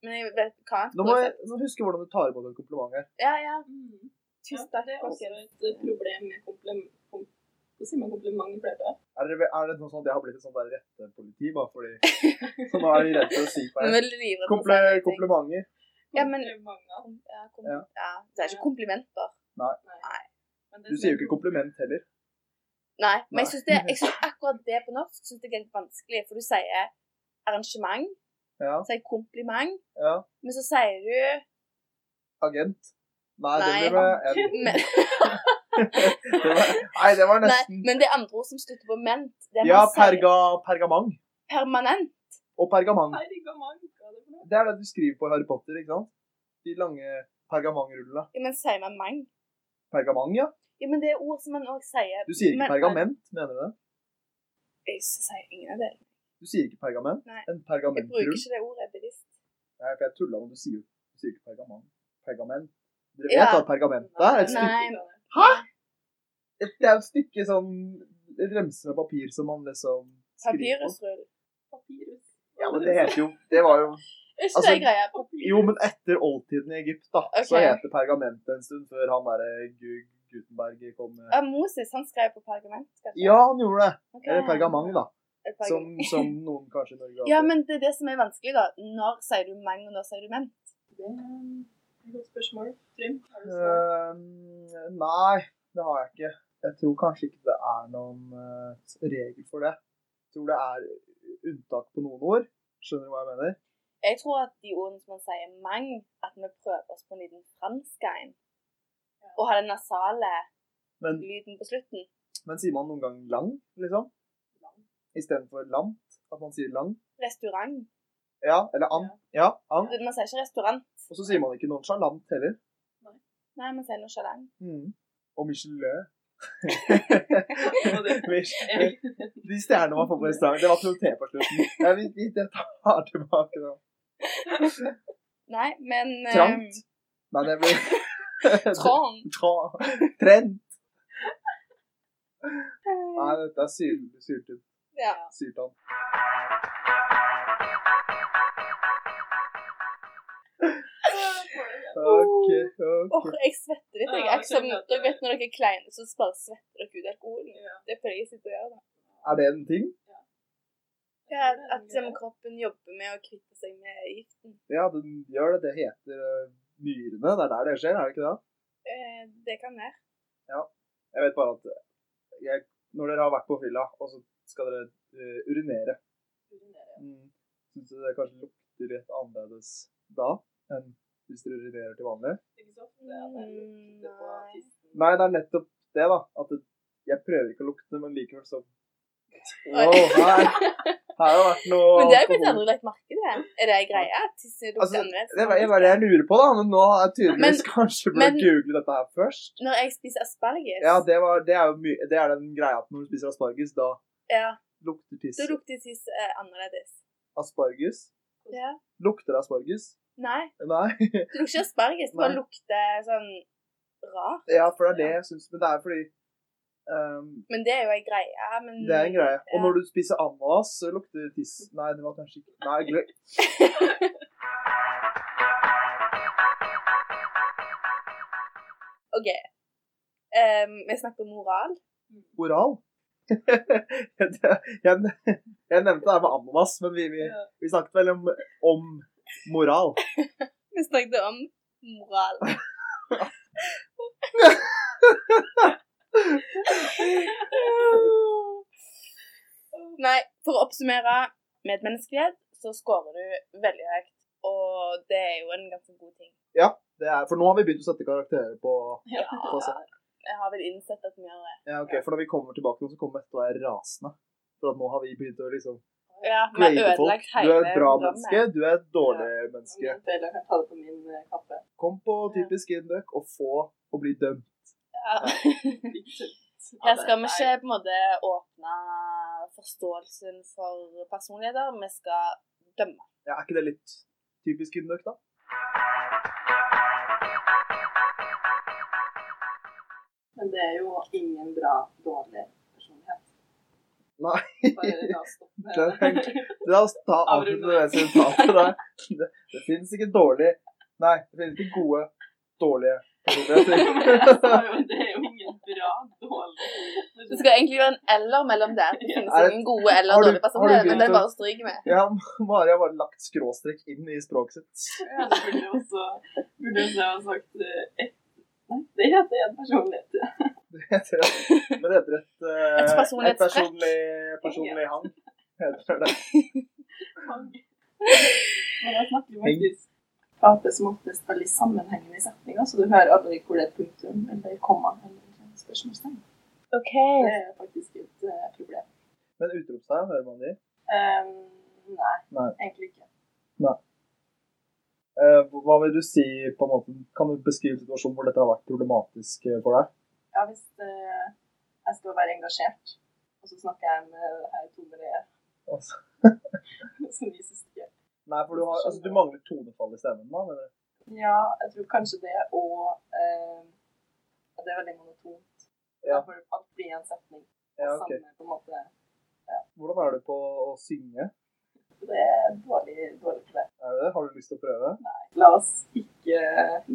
Men jeg vet hva
Nå må jeg nå huske hvordan du tar imot et kompliment her.
Ja, ja.
Ja,
Tusen takk.
Mm. det er også
folkens.
et eh, problem med kompliment... Kom, hva sier man kompliment i flertall?
Er det, er det noe sånn at jeg har blitt et sånt der rettepoliti bare fordi Så nå er de redd for å si
Nå er
feil.
jeg livredd for å
Komple,
si noe.
komplimenter.
Ja, men-
Komplimenter.
Ja, kom,
Ja.
ja. Det er ikke komplimenter.
Men sånn,
Du sier jo ikke kompliment heller.
Nei, men jeg
Nei.
synes, det, jeg synes akkurat det på norsk synes jeg er litt vanskelig, for du sier arrangement,
Ja.
sier kompliment,
ja.
men så sier du
Agent. Nei,
Nei.
det ble med en.
men,
Det var, nei, det var
nei,
nesten
men det er andre ord som slutter på ment. Det er
Ja,
man sier
perga, pergamang
permanent.
og pergamang.
Herregud, hva er det for noe?
Det er det du skriver på i Harry Potter, ikke sant? De lange pergamentrullene.
Ja, men sier man mang.
Pergamang, ja.
Ja, men det er ord som man også sier.
Du sier ikke
men-
pergament, mener du det?
Jeg sier ingen av det.
Du sier ikke pergament.
Nei.
En
Jeg bruker
pergamentrull.
ikke det ordet bevisst.
Nei, for jeg tulla, men du sier jo du sier ikke pergament. Pergament. Dere vet
Ja.
at pergament er et stykke,
Nei.
et, det er et stykke sånn remsende papir som man liksom skriver på.
Papyrusrull.
Papirus.
Ja, men det heter jo Det var jo
Er ikke
Altså,
det greia?
Jo, men etter oldtiden i Egypt, da, så
Ok.
het det pergament en stund før han derre Gu- Gutenberg kom med
Ja, Moses, han skrev på pergament. kanskje?
Ja, han gjorde det.
Ok.
Eller pergamang, da.
Et pergament.
Som, som noen kanskje i Norge har
Ja,
til.
men det er det som er vanskelig, da. Når sier du mang, og når sier du men?
Det er et godt spørsmål. Trym, har du svar?
Eh, nei, det har jeg ikke. Jeg tror kanskje ikke det er noen eh, regel for det. Jeg tror det er unntak på noen ord. Skjønner du hva jeg mener?
Jeg tror at de ordene som man sier mang, at vi prøver oss på en liten fransk en. Og har den nasale
Men,
lyden på slutten.
men sier man noen gang lang, liksom? Istedenfor lant? At man sier lang?
Restaurant.
Ja, eller an. Ja, an.
Man sier ikke restaurant.
Og så sier man ikke nonchalant heller.
Nei, man sier nonchalant.
Mm. Og Michelin.
Og det-
Mich- De stjernene man får på restaurant, det var proté på slutten. Ja, vi, vi jeg tar tilbake det.
Nei, men eh,
Trangt? Nei, det blir
Trangt.
Ta- Trend. Nei, dette er syr, syrtid.
Ja.
Syrtan. Ok,
Åh,
ok.
jeg svetter litt. Jeg.
Ja,
Akkurat som,
jeg kjenner at det-
dere vet når dere er kleine, så bare svetter dere ut alkoholen.
Ja.
Det pleier jeg å sitte og gjøre. da.
Er det en ting?
Ja, at liksom, kroppen jobber med å kvitte seg med giften.
Ja, den gjør det. Det heter eh, nyrene. Det er der det skjer, er det ikke det?
Eh, det kan være.
Jeg vet bare at eh, jeg, når dere har vært på fylla, og så skal dere eh, urinere mm, Syns dere det kanskje lukter litt annerledes da enn hvis dere urinerer til vanlig?
Ikke så
Mm,
ofte at jeg lukter på
Nei.
tissen.
Nei, det er nettopp det, da. At det, jeg prøver ikke å lukte, men likevel så
Oi.
Åh, her, her har det vært noe
Men det har jeg faktisk
alkohol.
aldri lagt merke til. Er det en greie? at Tisse lukter
Altså,
annerledes?
Det er bare det jeg lurer på, da. Men nå har jeg tydeligvis kanskje burde
men-
google dette her først.
Når jeg spiser asparges,
Ja, det, var, det er jo mye Det er den greia at når du spiser asparges, da
ja,
lukter tiss
da lukter tiss eh, annerledes.
asparges.
Ja.
Lukter det asparges?
Nei,
Nei.
det lukter ikke asparges. Det bare
Nei.
lukter sånn rart.
Ja, for det er det jeg syns. Men det er fordi ehm,
Men det er jo ei greie. Men
Det er en greie. Og
Ja.
når du spiser ananas, så lukter det tiss. Nei, det var kanskje ikke Nei, glem
OK. Ehm, vi snakker om moral.
oral. jeg, jeg nevnte det her med ananas, men vi, vi, vi snakket vel om, om moral.
Vi snakket om moral. Nei, for å oppsummere medmenneskelighet, så scorer du veldig høyt. Og det er jo en ganske god ting.
Det er, for nå har vi begynt å sette karakterer på,
Ja,
på oss.
jeg har vel innsett at vi gjør det.
Ja, ok, For når vi kommer tilbake, nå, så kommer Mette til å være rasende. For at nå har vi begynt å liksom
Ja, vi har
grade folk.
ødelagt
Du
hele
er et bra
programmet.
menneske, du er et dårlig menneske.
Min del, jeg kan ta det på min eh, kappe.
Kom på typisk Induc og få å bli dømt.
Ja. Her skal vi ikke på en måte åpne forståelsen for personligheter, vi skal dømme.
Ja, er ikke det litt typisk Induc, da?
Men det er jo ingen bra, dårlig personlighet.
Nei.
Bare la oss stoppe med
Den-
det.
La oss ta
Avrunde.
avslutte det sitatet der. Det, det finnes ikke dårlig Nei, det finnes ikke gode, dårlige
Men jeg sa
personligheter.
jo, det er jo ingen bra, dårlig
Det skal egentlig være en eller mellom der. Det finnes
Er det-
ingen gode eller
har du-
dårlige
har
personligheter,
du
men det
begynt å-
bare stryker vi.
Ja, Mari har bare lagt skråstrekk inn i språket sitt.
Ja, det burde jo også, burde jo også ha sagt eh, et, Nei, det heter en personlighet. ja.
Det heter et- Men det heter et eh,
Et personlighetstrekk.
et personlig, personlig hang. Heter det.
Men jeg snakker jo faktisk prater som oftest veldig sammenhengende i setninga, så du hører aldri hvor det er punktum eller komma eller spørsmålstegn.
OK.
Det er faktisk et eh, problem.
Men utropstegn, hører man de?
Ehm, nei,
Nei.
egentlig ikke.
Eh, hva vil du si på en måte, Kan du beskrive situasjonen hvor dette har vært problematisk eh, for deg?
Ja, hvis eh, jeg skal være engasjert, og så snakker jeg med det her tommeret
Altså,
som vises til.
nei, for du, har, altså, du mangler tonefall i stemmen. da, mener du?
Ja, jeg tror kanskje det, og eh, at det er veldig monotont.
Ja.
Da får det alt bli en setning.
Ja, ok.
Samme på en måte.
Hvordan er du på å synge?
Det er dårlig, dårlig for det.
Er det det? Har du lyst til å prøve?
La oss ikke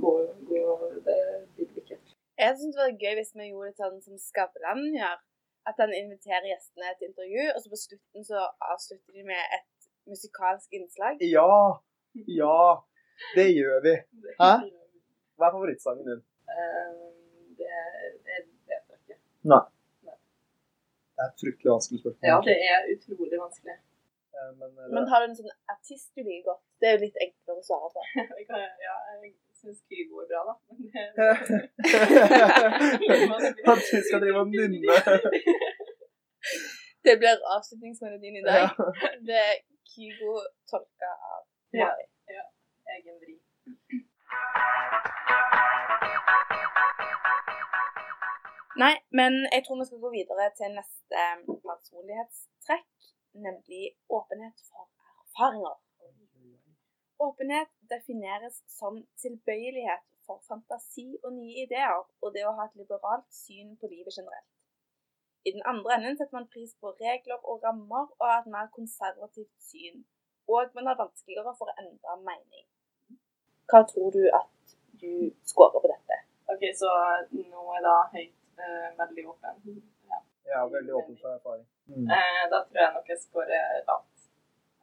gå, gå det vil vi ikke.
Jeg synes det var gøy hvis vi gjorde det sånn som Skavlan gjør. At han inviterer gjestene til intervju, og så på slutten så avslutter de med et musikalsk innslag.
Ja! Ja! Det gjør vi. Hæ? Hva er favorittsangen din?
Eh, det, det vet jeg ikke.
Det er et fryktelig vanskelig spørsmål.
Ja, det er utrolig vanskelig.
Eh, Men, eh,
Men har du en sånn artist du liker godt? Det er jo litt enklere å svare på.
Jeg kan- Ja, jeg syns Kygo er bra, da. Men det
At vi skal drive og nynne.
Det blir avslutningsmelodien i
Ja.
dag. Det er Kygo tolka av
Ja. egen vri.
Nei, men jeg tror vi skal gå videre til neste personlighetstrekk, nemlig åpenhet for erfaringer. Åpenhet defineres som tilbøyelighet for fantasi og nye ideer, og det å ha et liberalt syn på livet generelt. I den andre enden setter man pris på regler og rammer, og har et mer konservativt syn. Og man har vanskeligere for å endre mening. Hva tror du at du scorer på dette?
OK, så nå er da høyt eh, veldig åpen. Ja.
Jeg er veldig åpen for erfaring.
Eh, da tror jeg nok jeg scorer lavt.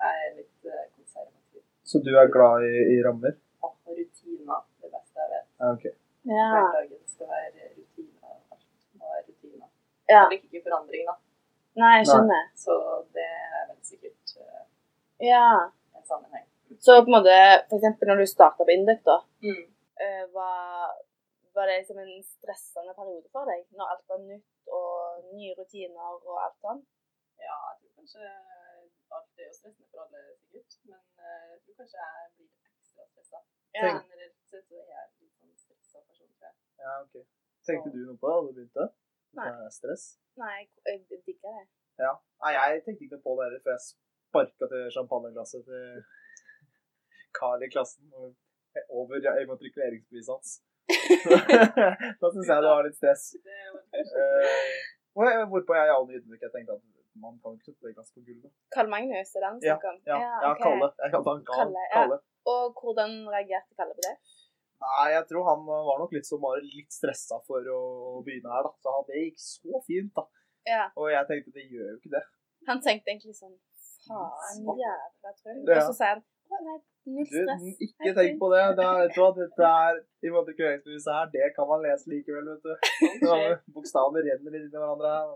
Jeg er litt eh, konservativ.
Så du er glad i, i rammer?
Og rutiner, det beste jeg vet.
Ja, ok.
Hverdagen skal være rutiner. Alt må være rutiner.
ja.
Jeg liker ikke forandring, da.
Nei, jeg skjønner.
Så det er vel sikkert eh,
Ja.
en sammenheng.
Så på en måte, for eksempel når du startet på Induc, da,
Mm.
eh, var, var det liksom en stressende periode for deg? Når alt var nytt, og nye rutiner og alt sånt?
Ja, jeg tror kanskje alt er jo stressende for alle, sikkert. Men eh, jeg tror kanskje jeg blir ekstra stressa.
Ja.
Generelt sett så er jeg litt sånn stressa person, tror jeg.
Ja, ok. Tenkte du noe på det da du begynte?
Nei.
Det er Stress?
Nei, jeg, jeg digger det.
Ja. Nei, jeg tenkte ikke noe på det heller, for jeg sparka til champagneglasset til Carl i klassen og- over immatrikuleringsbeviset hans. da syns jeg det var litt stress.
Det er jo en
Eh, hvor- hvorpå jeg i all ydmykhet tenkte at man kan ikke putte glass på gulvet.
Karl Magnus, er det han
Ja,
snakker om?
Ja, ja
ok.
Kalle. Jeg kalte han Gal.
Kalle, ja.
Kalle.
Og hvordan reagerte Kalle på det?
Nei, jeg tror han var nok litt som bare litt stressa for å begynne her, da. Så han- det gikk så fint, da.
Ja.
Og jeg tenkte det gjør jo ikke det.
Han tenkte egentlig sånn Faen,
Svart.
jævla trøll.
Ja.
Og så sier han Å nei, null
Du,
stress.
ikke tenk på det. det er, vet du hva, dette er i matrikuleringsbeviset her, det kan man lese likevel, vet du. Ja, Bokstavene renner litt inn i hverandre. her.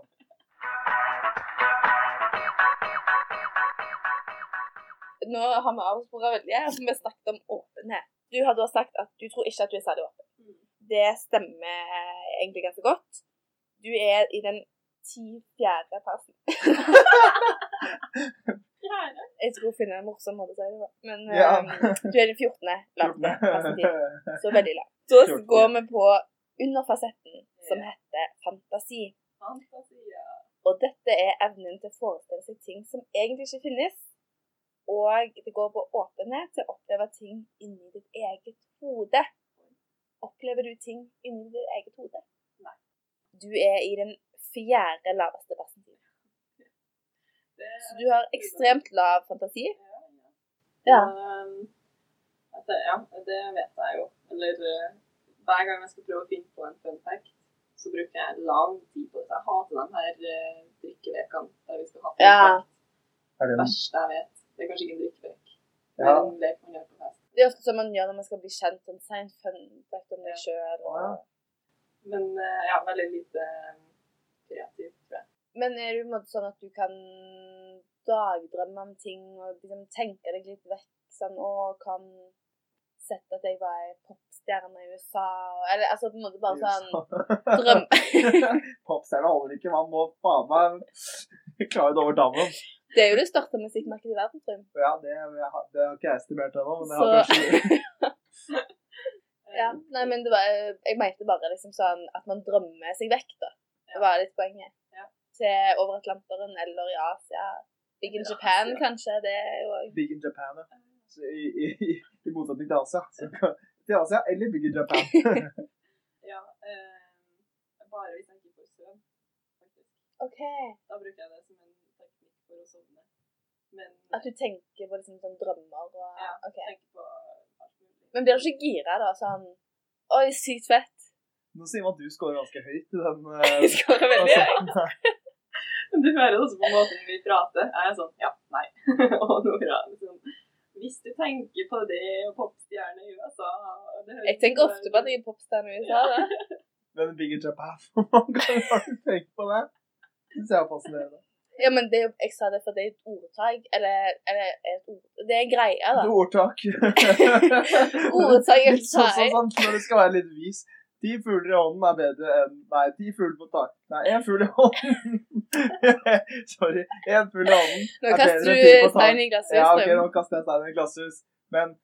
Nå har vi avspora veldig, her, for vi snakket om åpenhet. Du har da sagt at du tror ikke at du er særlig åpen.
Mm.
Det stemmer egentlig ganske godt. Du er i den ti-fjerde fasen.
Fjerde.
Jeg skulle finne en morsom måte å si det på, men
Ja.
eh, du er i den fjortende laveste fasetiden. Så veldig langt. Så
Fjorten.
går vi på underfasetten som heter fantasi.
Fantasi, ja.
Og dette er evnen til å forestille seg ting som egentlig ikke finnes. Og det går på åpenhet til å oppleve ting inni ditt eget hode. Opplever du ting inni ditt eget hode?
Nei.
Du er i den fjerde laveste bassen.
Det
Så du har ekstremt lav fantasi.
Ja, ja.
Ja.
Um, altså, ja, det vet jeg jo. Eller eh, hver gang jeg skal prøve å finne på en fun fact, så bruker jeg lang tid på det. Jeg hater de her eh, drikkelekene der vi skal ha fun
Ja.
fact.
Er det
Det
en
verste jeg vet. Det er kanskje ikke en drikkelek. Det er
Ja.
en lek man gjør på fest.
Det er ofte som man gjør når man skal bli kjent. En sein fun fact om deg sjøl.
Ja.
Men eh, ja, veldig lite eh, kreativt, tror jeg.
Men er du på en måte sånn at du kan dagdrømme om ting og liksom tenke deg litt vekk? Sånn, og kan sette at jeg var ei popstjerne i USA og, Eller altså på en måte bare sånn drøm...
Popstjerna holder ikke, man må faen meg klare det over dammen.
Det er jo det største musikkmarkedet i verden, tror jeg.
Ja, det, det har ikke jeg estimert ennå, men jeg
Så-
har kanskje
Eh,
Ja. Nei, men det var, eh, jeg mente bare liksom sånn at man drømmer seg vekk, da.
Ja.
Det var litt poenget.
Ja.
Til over Atlanteren eller i Asia. Big in
Eller
Japan,
Asia.
kanskje. Det er jo
Big in Japan, ja.
eh,
Så I, i, i- i motsetning til Asia. Så, til Asia eller Big in Japan.
Ja, eh, bare hvis jeg ikke får søvn, faktisk.
OK.
Da bruker jeg det som en teknikk for å sovne. Men
At du tenker på liksom sånn drømmer og
Ja.
OK.
tenker på alt mulig.
Men blir du ikke gira da, sånn Oi, sykt fett.
Nå sier man at du scorer ganske høyt i den
Jeg
eh,
skårer veldig.
fasetten her.
Du hører det også på måten vi prater. Jeg er sånn ja, nei. og nå er jeg sånn Hvis du tenker på det og popstjerne i USA det høres
Jeg tenker ofte på at jeg er popstjerne i USA. da.
Men Big in Japan, man kan jo ikke tenke på det. Det synes jeg er fascinerende.
Ja, men det, er jo- jeg sa det for det er et ordtak, eller, eller et ord, Det er en greie, da.
Du, ordtak.
Ordtak er
Litt sånn, sånn,
feil.
sånn når det skal være litt vis. Ti fugler i hånden er bedre enn Nei, ti fugler på tak. Nei, én fugl i hånden. Sorry. Én fugl i hånden.
Nå
er
kaster
bedre enn
du
to på tak.
stein i glasset.
Ja, ok,
Strøm.
nå kaster jeg steinen i glasshus. Men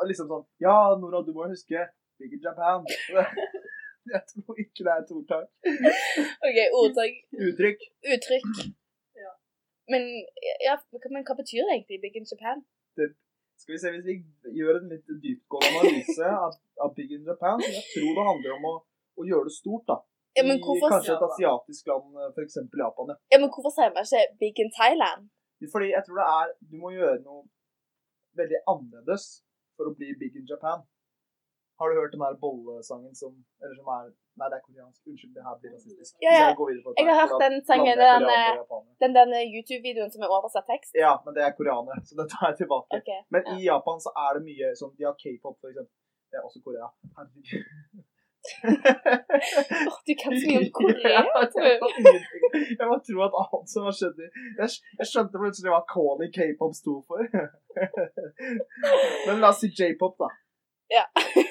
og liksom sånn Ja, Nora, du må huske Big in Japan. Jeg tror ikke det er et ordtak.
OK, ordtak.
Uttrykk.
Uttrykk.
Ja.
Men, ja, men hva betyr det egentlig, Big in Japan?
Skal vi se hvis vi gjør en litt dyptgående analyse av, av Big in Japan. så Jeg tror det handler om å, å gjøre det stort, da.
Ja, men
I
hvorfor,
kanskje et asiatisk land, f.eks. Japan. ja.
ja, men hvorfor sier man ikke Big in Thailand?
Fordi jeg tror det er Du må gjøre noe veldig annerledes for å bli big in Japan. Har du hørt den her bollesangen som Eller som er Nei, det er koreansk. Unnskyld, det her blir rasistisk.
Ja, ja.
Jeg, går videre på dette
Jeg har
her,
hørt
for da
den sangen,
blander jeg
den,
koreanere
eh,
og japanere.
den der YouTube-videoen som er oversatt tekst.
Ja, men det er koreanere, så det tar jeg tilbake.
OK.
Men
Ja.
i Japan så er det mye sånn De har k-pop, for eksempel. Det er også Korea. Herregud.
Åh, du kan så mye om Korea.
Ja,
tror
jeg
jeg.
kan ingenting. Jeg må tro at alt som har skjedd i Jeg, skj- jeg skjønte plutselig hva K-en i k-pop sto for. Men la oss si j-pop, da.
Ja.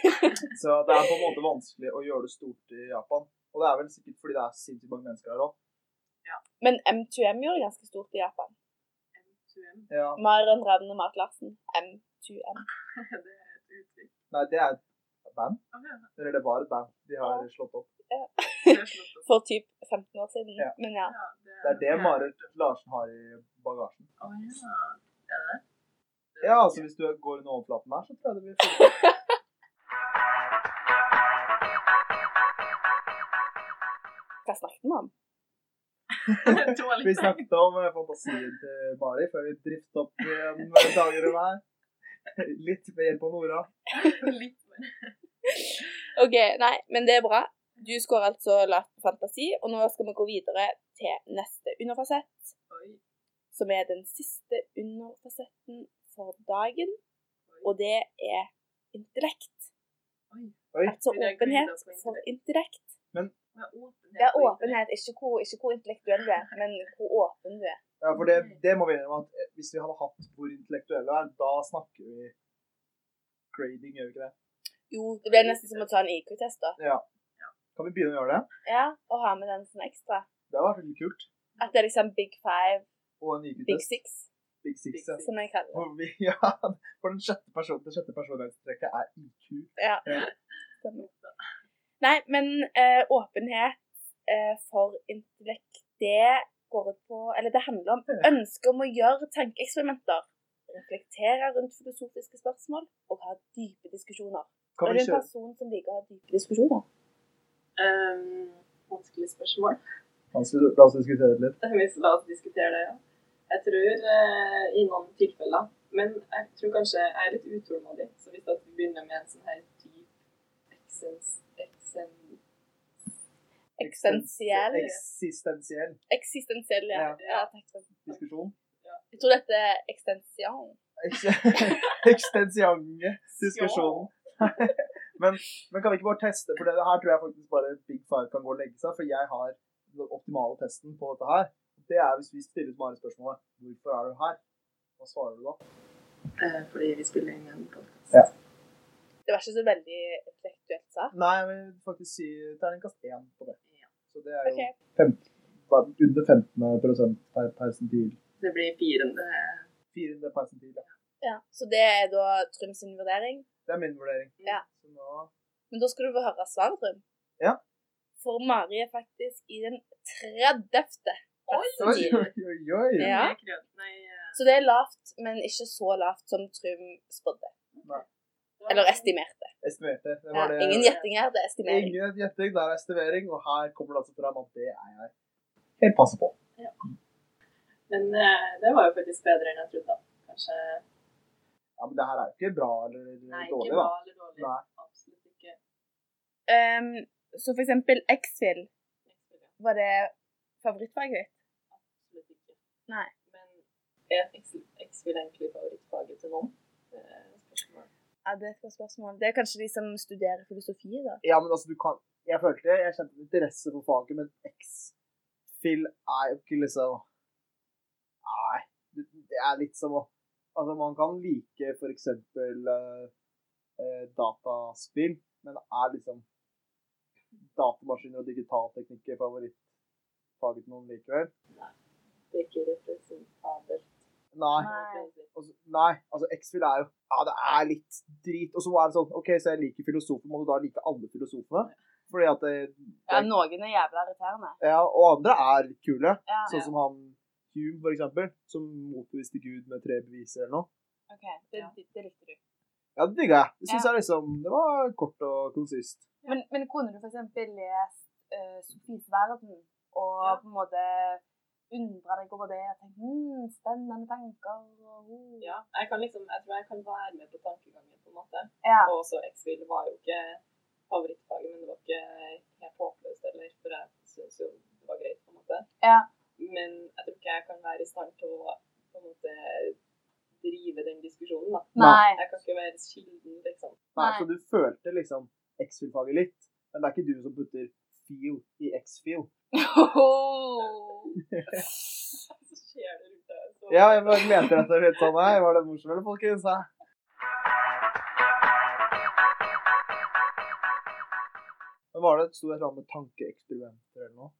Så det er på en måte vanskelig å gjøre det stort i Japan. Og det er vel sikkert fordi det er sinnssykt mange mennesker her òg.
Men M2M gjorde det ganske stort i Japan.
M2M,
Ja.
Maren Ravne Mark Larsen. M2M.
det er et uttrykk.
Nei, det er et band.
Ah, ja,
Eller det var et band. De har
Ja.
slått opp.
det er slått opp.
For typ 15 år siden.
Ja.
Men ja.
Ja,
Det er det Marit Larsen har i bagasjen.
Å ja. Er det det?
Ja, altså hvis du går under overflaten her, så tror jeg det blir fint.
Hva snakket vi om?
Vi
Dårlig tegn.
snakket om eh, fantasien til Mari før vi driftet opp igjen eh, dager og vær. Litt ved hjelp av Nora.
Litt mer.
OK, nei, men det er bra. Du skårer altså lavt på fantasi, og nå skal vi gå videre til neste underfasett,
Oi.
som er den siste underfasetten for dagen, og det er intellekt.
Oi.
Oi.
Altså
Men det er
åpenhet
grunnlag på
for
intellekt.
intellekt.
Med åpenhet.
Det er
og
åpenhet, ikke hvor, ikke hvor intellektuell du er, men hvor åpen du er.
Ja, for det, det må vi innrømme at eh, hvis vi hadde hatt hvor intellektuelle er, da snakker vi grading, gjør vi ikke det?
Jo, det blir nesten som å ta en IQ-test, da.
Kan vi begynne å gjøre det?
Ja, og ha med den sånn ekstra.
Det hadde vært veldig kult.
At det er liksom big five,
Og en
big
IQ-test.
six,
Big Six. ja.
som jeg kaller det.
For, vi, ja, for den sjette personen, det sjette personlighetstrekket er IQ.
Ja.
Ja.
Stemmer. Nei, men eh, åpenhet eh, for intellekt, det går ut på Eller det handler om ønsket om å gjøre tankeeksperimenter. Reflektere rundt filosofiske spørsmål og ha dype diskusjoner.
Kan
er
vi
du en
kjøre
person som liker å ha dype diskusjoner?
Ehm, vanskelig spørsmål.
Han skulle- La oss diskutere det litt.
Hvis la oss diskutere det, ja. Jeg tror eh, i noen tilfeller, men jeg tror kanskje jeg er litt utålmodig. Så hvis at vi begynner med en sånn her dyp eksens... eksen...
Eksistensiell.
Eksistensiell
Eksistensiell, ja.
Ja.
ja takk for det.
diskusjon.
Jeg tror dette er eksistensial.
Eksistensiange diskusjonen. Men, men kan vi ikke bare teste, for det her tror jeg faktisk bare Big Five kan gå og legge seg, for jeg har den optimale testen på dette her. Det er hvis vi stiller Mari spørsmålet hvorfor er du her? Hva svarer du da?
Eh, fordi vi spiller inn en podcast.
Ja.
Det var ikke så veldig intellektuelt sagt.
Nei, jeg vil faktisk si terningkast én på det. Så det er jo
Ok.
bare under 15 prosent per persentil.
Det blir firende
400 persentil, ja.
Ja. Så det er da Trym sin vurdering.
Det er min vurdering.
Ja.
Så nå...
Men da skal du få høre svaret, Trym.
Ja.
For Mari er faktisk i den 30.
Oi,
persentil.
oi, oi, oi.
Ja.
Kred, nei, eh,
Så det er lavt, men ikke så lavt som Trym spådde. Eller estimerte.
Estimerte. Det
Ja,
var det.
ingen gjetting her, det er estimering.
Ingen gjetting, det er estimering, og her kommer det altså fram at det er jeg helt passe på.
Men eh, det var jo faktisk bedre enn jeg trodde. Kanskje
Ja, men det her er jo ikke bra eller
Nei,
dårlig,
ikke
da.
bra eller dårlig.
Nei.
Absolutt ikke.
Um, så for eksempel X-Fill,
Absolutt
var det favorittfaget ditt?
ikke.
Nei.
Men er X-Fill egentlig favorittfaget til noen? Eh, spørsmål.
Ja, det er et godt spørsmål. Det er kanskje de som studerer filosofi, da.
Ja, men altså, du kan Jeg følte det, jeg kjente en interesse for faget, men X-Fill er jo ikke liksom Nei, det det er litt som å Altså, man kan like for eksempel eh, eh, dataspill, men er liksom datamaskiner og digitalteknikker favorittfaget til noen likevel?
Det er ikke representabelt.
Nei. Og så- Nei, altså X-Fill er jo Ja, det er litt drit. Og så er det sånn OK, så jeg liker filosofer. Må du da like alle filosofene? Fordi at det,
Ja, noen er jævla irriterende.
Ja, og andre er litt kule.
Ja,
Sånn som han Hume, for eksempel. Som motbeviste Gud med tre beviser eller noe.
ok. Det, det likte du.
Ja, det digga jeg. Det syns jeg liksom Det var kort og konsist.
Men, men kunne du for eksempel lest uh, Sofies verden og
Ja.
på en måte undre deg over det og tenke hmm, spennende tanker og oh.
Ja, jeg, kan liksom, jeg tror jeg kan være med på tankegangen, på en måte.
Ja.
Og også X-Fill var jo ikke favorittfaget, men det var ikke helt håpløst heller, for jeg syns jo det var greit, på en måte.
Ja.
Men jeg tror ikke jeg kan være i stand til å på en måte drive den diskusjonen, da.
Nei.
Jeg kan ikke være kilden, liksom.
Nei,
Nei.
Så du følte liksom X-Fill-faget litt, men det er ikke du som putter feel i X-Fill.
Så skjer det rundt deg. Så
Ja, jeg bare leter etter litt sånn her. Var det morsomt, eller, folkens? Hæ? Men var det sto det et eller annet med tankeeksperimenter eller noe?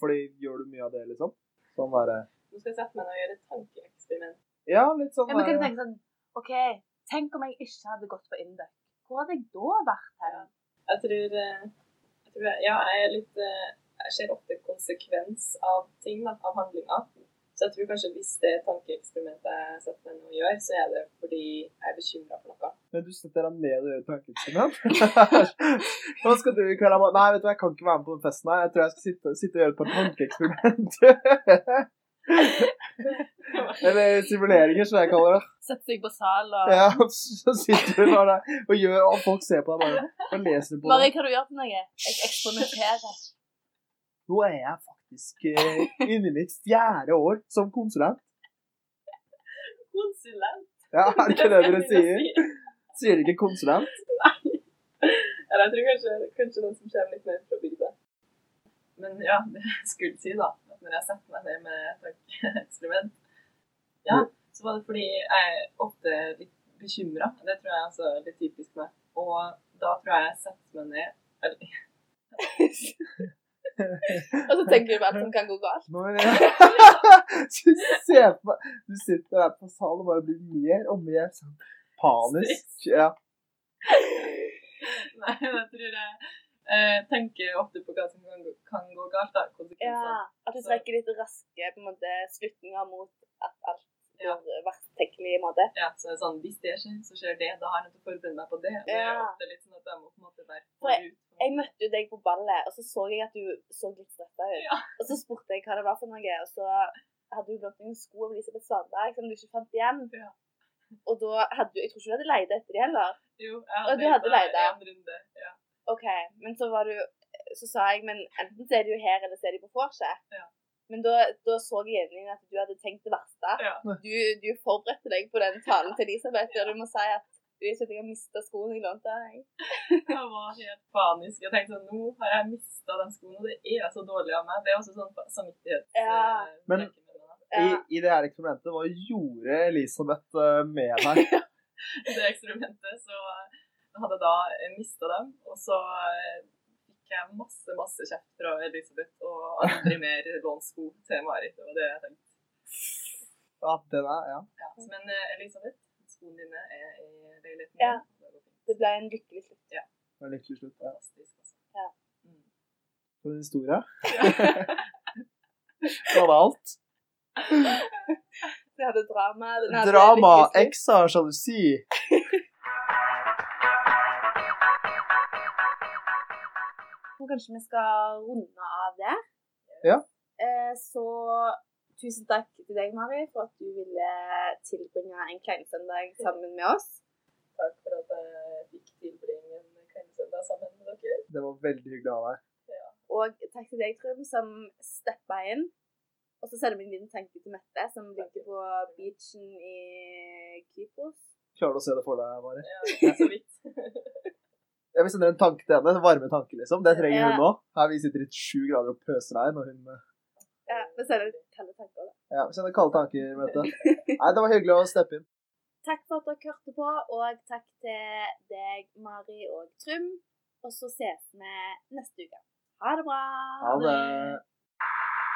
Fordi gjør du mye av det, liksom? Sånn derre
nå skal jeg sette meg ned og gjøre et tankeeksperiment.
Ja, litt sånn
ja, men kan du
derre-
tenke sånn OK, tenk om jeg ikke hadde gått på Induc. Hvor hadde jeg da vært hen?
Jeg tror, eh, jeg tror jeg, Ja, jeg er litt eh, Jeg ser ofte konsekvens av ting, da, av handlinger. Så jeg tror kanskje hvis det tankeeksperimentet jeg setter meg ned og gjør, så er det fordi jeg er bekymra for noe.
Men du setter deg ned og gjør tankeeksperiment? Hva skal du i kveld? Jeg bare, Nei, vet du, hva, jeg kan ikke være med på den festen her. Jeg tror jeg skal sitte, sitte og gjøre et par tankeeksperimenter. Eller simuleringer, som jeg kaller det.
Sette seg på sal og
Ja, så sitter du bare der og gjør og folk ser på deg bare. Hva leser du på?
Mari, hva har du gjort for noe? Jeg eksperimenterer.
Nå er jeg faktisk eh, inne i mitt fjerde år som konsulent.
Konsulent.
Ja, er det ikke det dere sier? Sier dere ikke konsulent?
Eller jeg tror kanskje, kanskje den som kommer litt mer fra bygda. Men ja, det jeg skulle si, da, at når jeg setter meg ned med tankeeksperiment, ja, så var det fordi jeg er ofte litt bekymra. Det tror jeg altså er litt typisk meg. Og da tror jeg jeg setter meg ned eller,
Og så tenker du på alt som kan gå galt.
Nå er det- Du ser på meg Du sitter der på salen og bare blir mer og mer sånn panisk. Ja.
Nei, men jeg tror jeg eh, tenker ofte på hva som kan gå, kan gå galt. da, konsekvenser.
At du trekker litt raske på en måte, slutninger mot at alt
Ja.
går verst tenkelig måte.
Ja, så det er sånn, Hvis det skjer, så skjer det. Da har jeg nødt til å forberede meg på det. Og det er
Ja.
ofte litt sånn at jeg må på en måte være
For
forut.
Jeg møtte jo deg på ballet, og så så jeg at du så litt stressa ut.
Ja.
Og så spurte jeg hva det var for noe, og så hadde du lånt noen sko av Elisabeth Svanberg som du ikke fant igjen.
Ja.
Og da hadde du Jeg tror ikke du hadde leid etter de heller.
Jo,
Og du
jeg
hadde leid deg.
en runde. Ja.
OK, men så var du Så sa jeg, men enten så er de jo her, eller så er de på vorset.
Ja.
Men da, da så jeg inn i at du hadde tenkt det verste.
Ja.
Du, du forberedte deg på den talen til Elisabeth, og du må si at Elisabeth, jeg har mista skoene jeg lånte av deg.
Jeg var helt panisk. Jeg tenkte sånn, nå har jeg mista den skoen, og det er så dårlig av meg. Det er også sånn fa- samvittighets...
Ja.
eh,
Men-
tanke med meg.
I,
Ja.
I det her eksperimentet, hva gjorde Elisabeth eh, med deg?
det eksperimentet, så eh, hadde jeg da mista dem. Og så eh, fikk jeg masse, masse kjeft fra Elisabeth, og aldri mer lånt sko til Marit. Det var det jeg tenkte.
Ja, den er, ja.
Ja. Men eh, Elisabeth, skoene dine er i leiligheten.
Ja.
min. Det var
Det ble en lykkelig slutt.
Det var en lykkelig slutt. Ja.
Fantastisk. altså.
Ja.
Mm.
For en historie. Det var alt.
Det hadde drama. den hadde
Drama,
lykkelig slutt.
X har sjalusi.
Jeg tror kanskje vi skal runde av det.
Ja.
Eh, Så tusen takk til deg, Mari, for at du ville tilbringe en kleinsøndag sammen med oss.
Takk for at jeg fikk tilbringe en kveldssøndag sammen med dere.
Det var veldig hyggelig av deg.
Og takk til deg, Trym, som steppa inn. Og så sender vi din tanke til Mette, som ligger på beachen i Kypros.
Klarer du å se det for deg, Mari?
Ja, så vidt.
Ja, vi sender en tanke til henne. En varme tanke, liksom. Det trenger
Ja.
hun nå. Her vi sitter i sju grader og pøser regn, og hun eh,
Ja, vi sender kalde tanker. da.
Ja, vi sender kalde tanker, Mette. Nei, det var hyggelig å steppe inn.
Takk for at dere hørte på, og takk til deg, Mari og Trym. Og så ses vi neste uke. Ha det bra!
Ha det.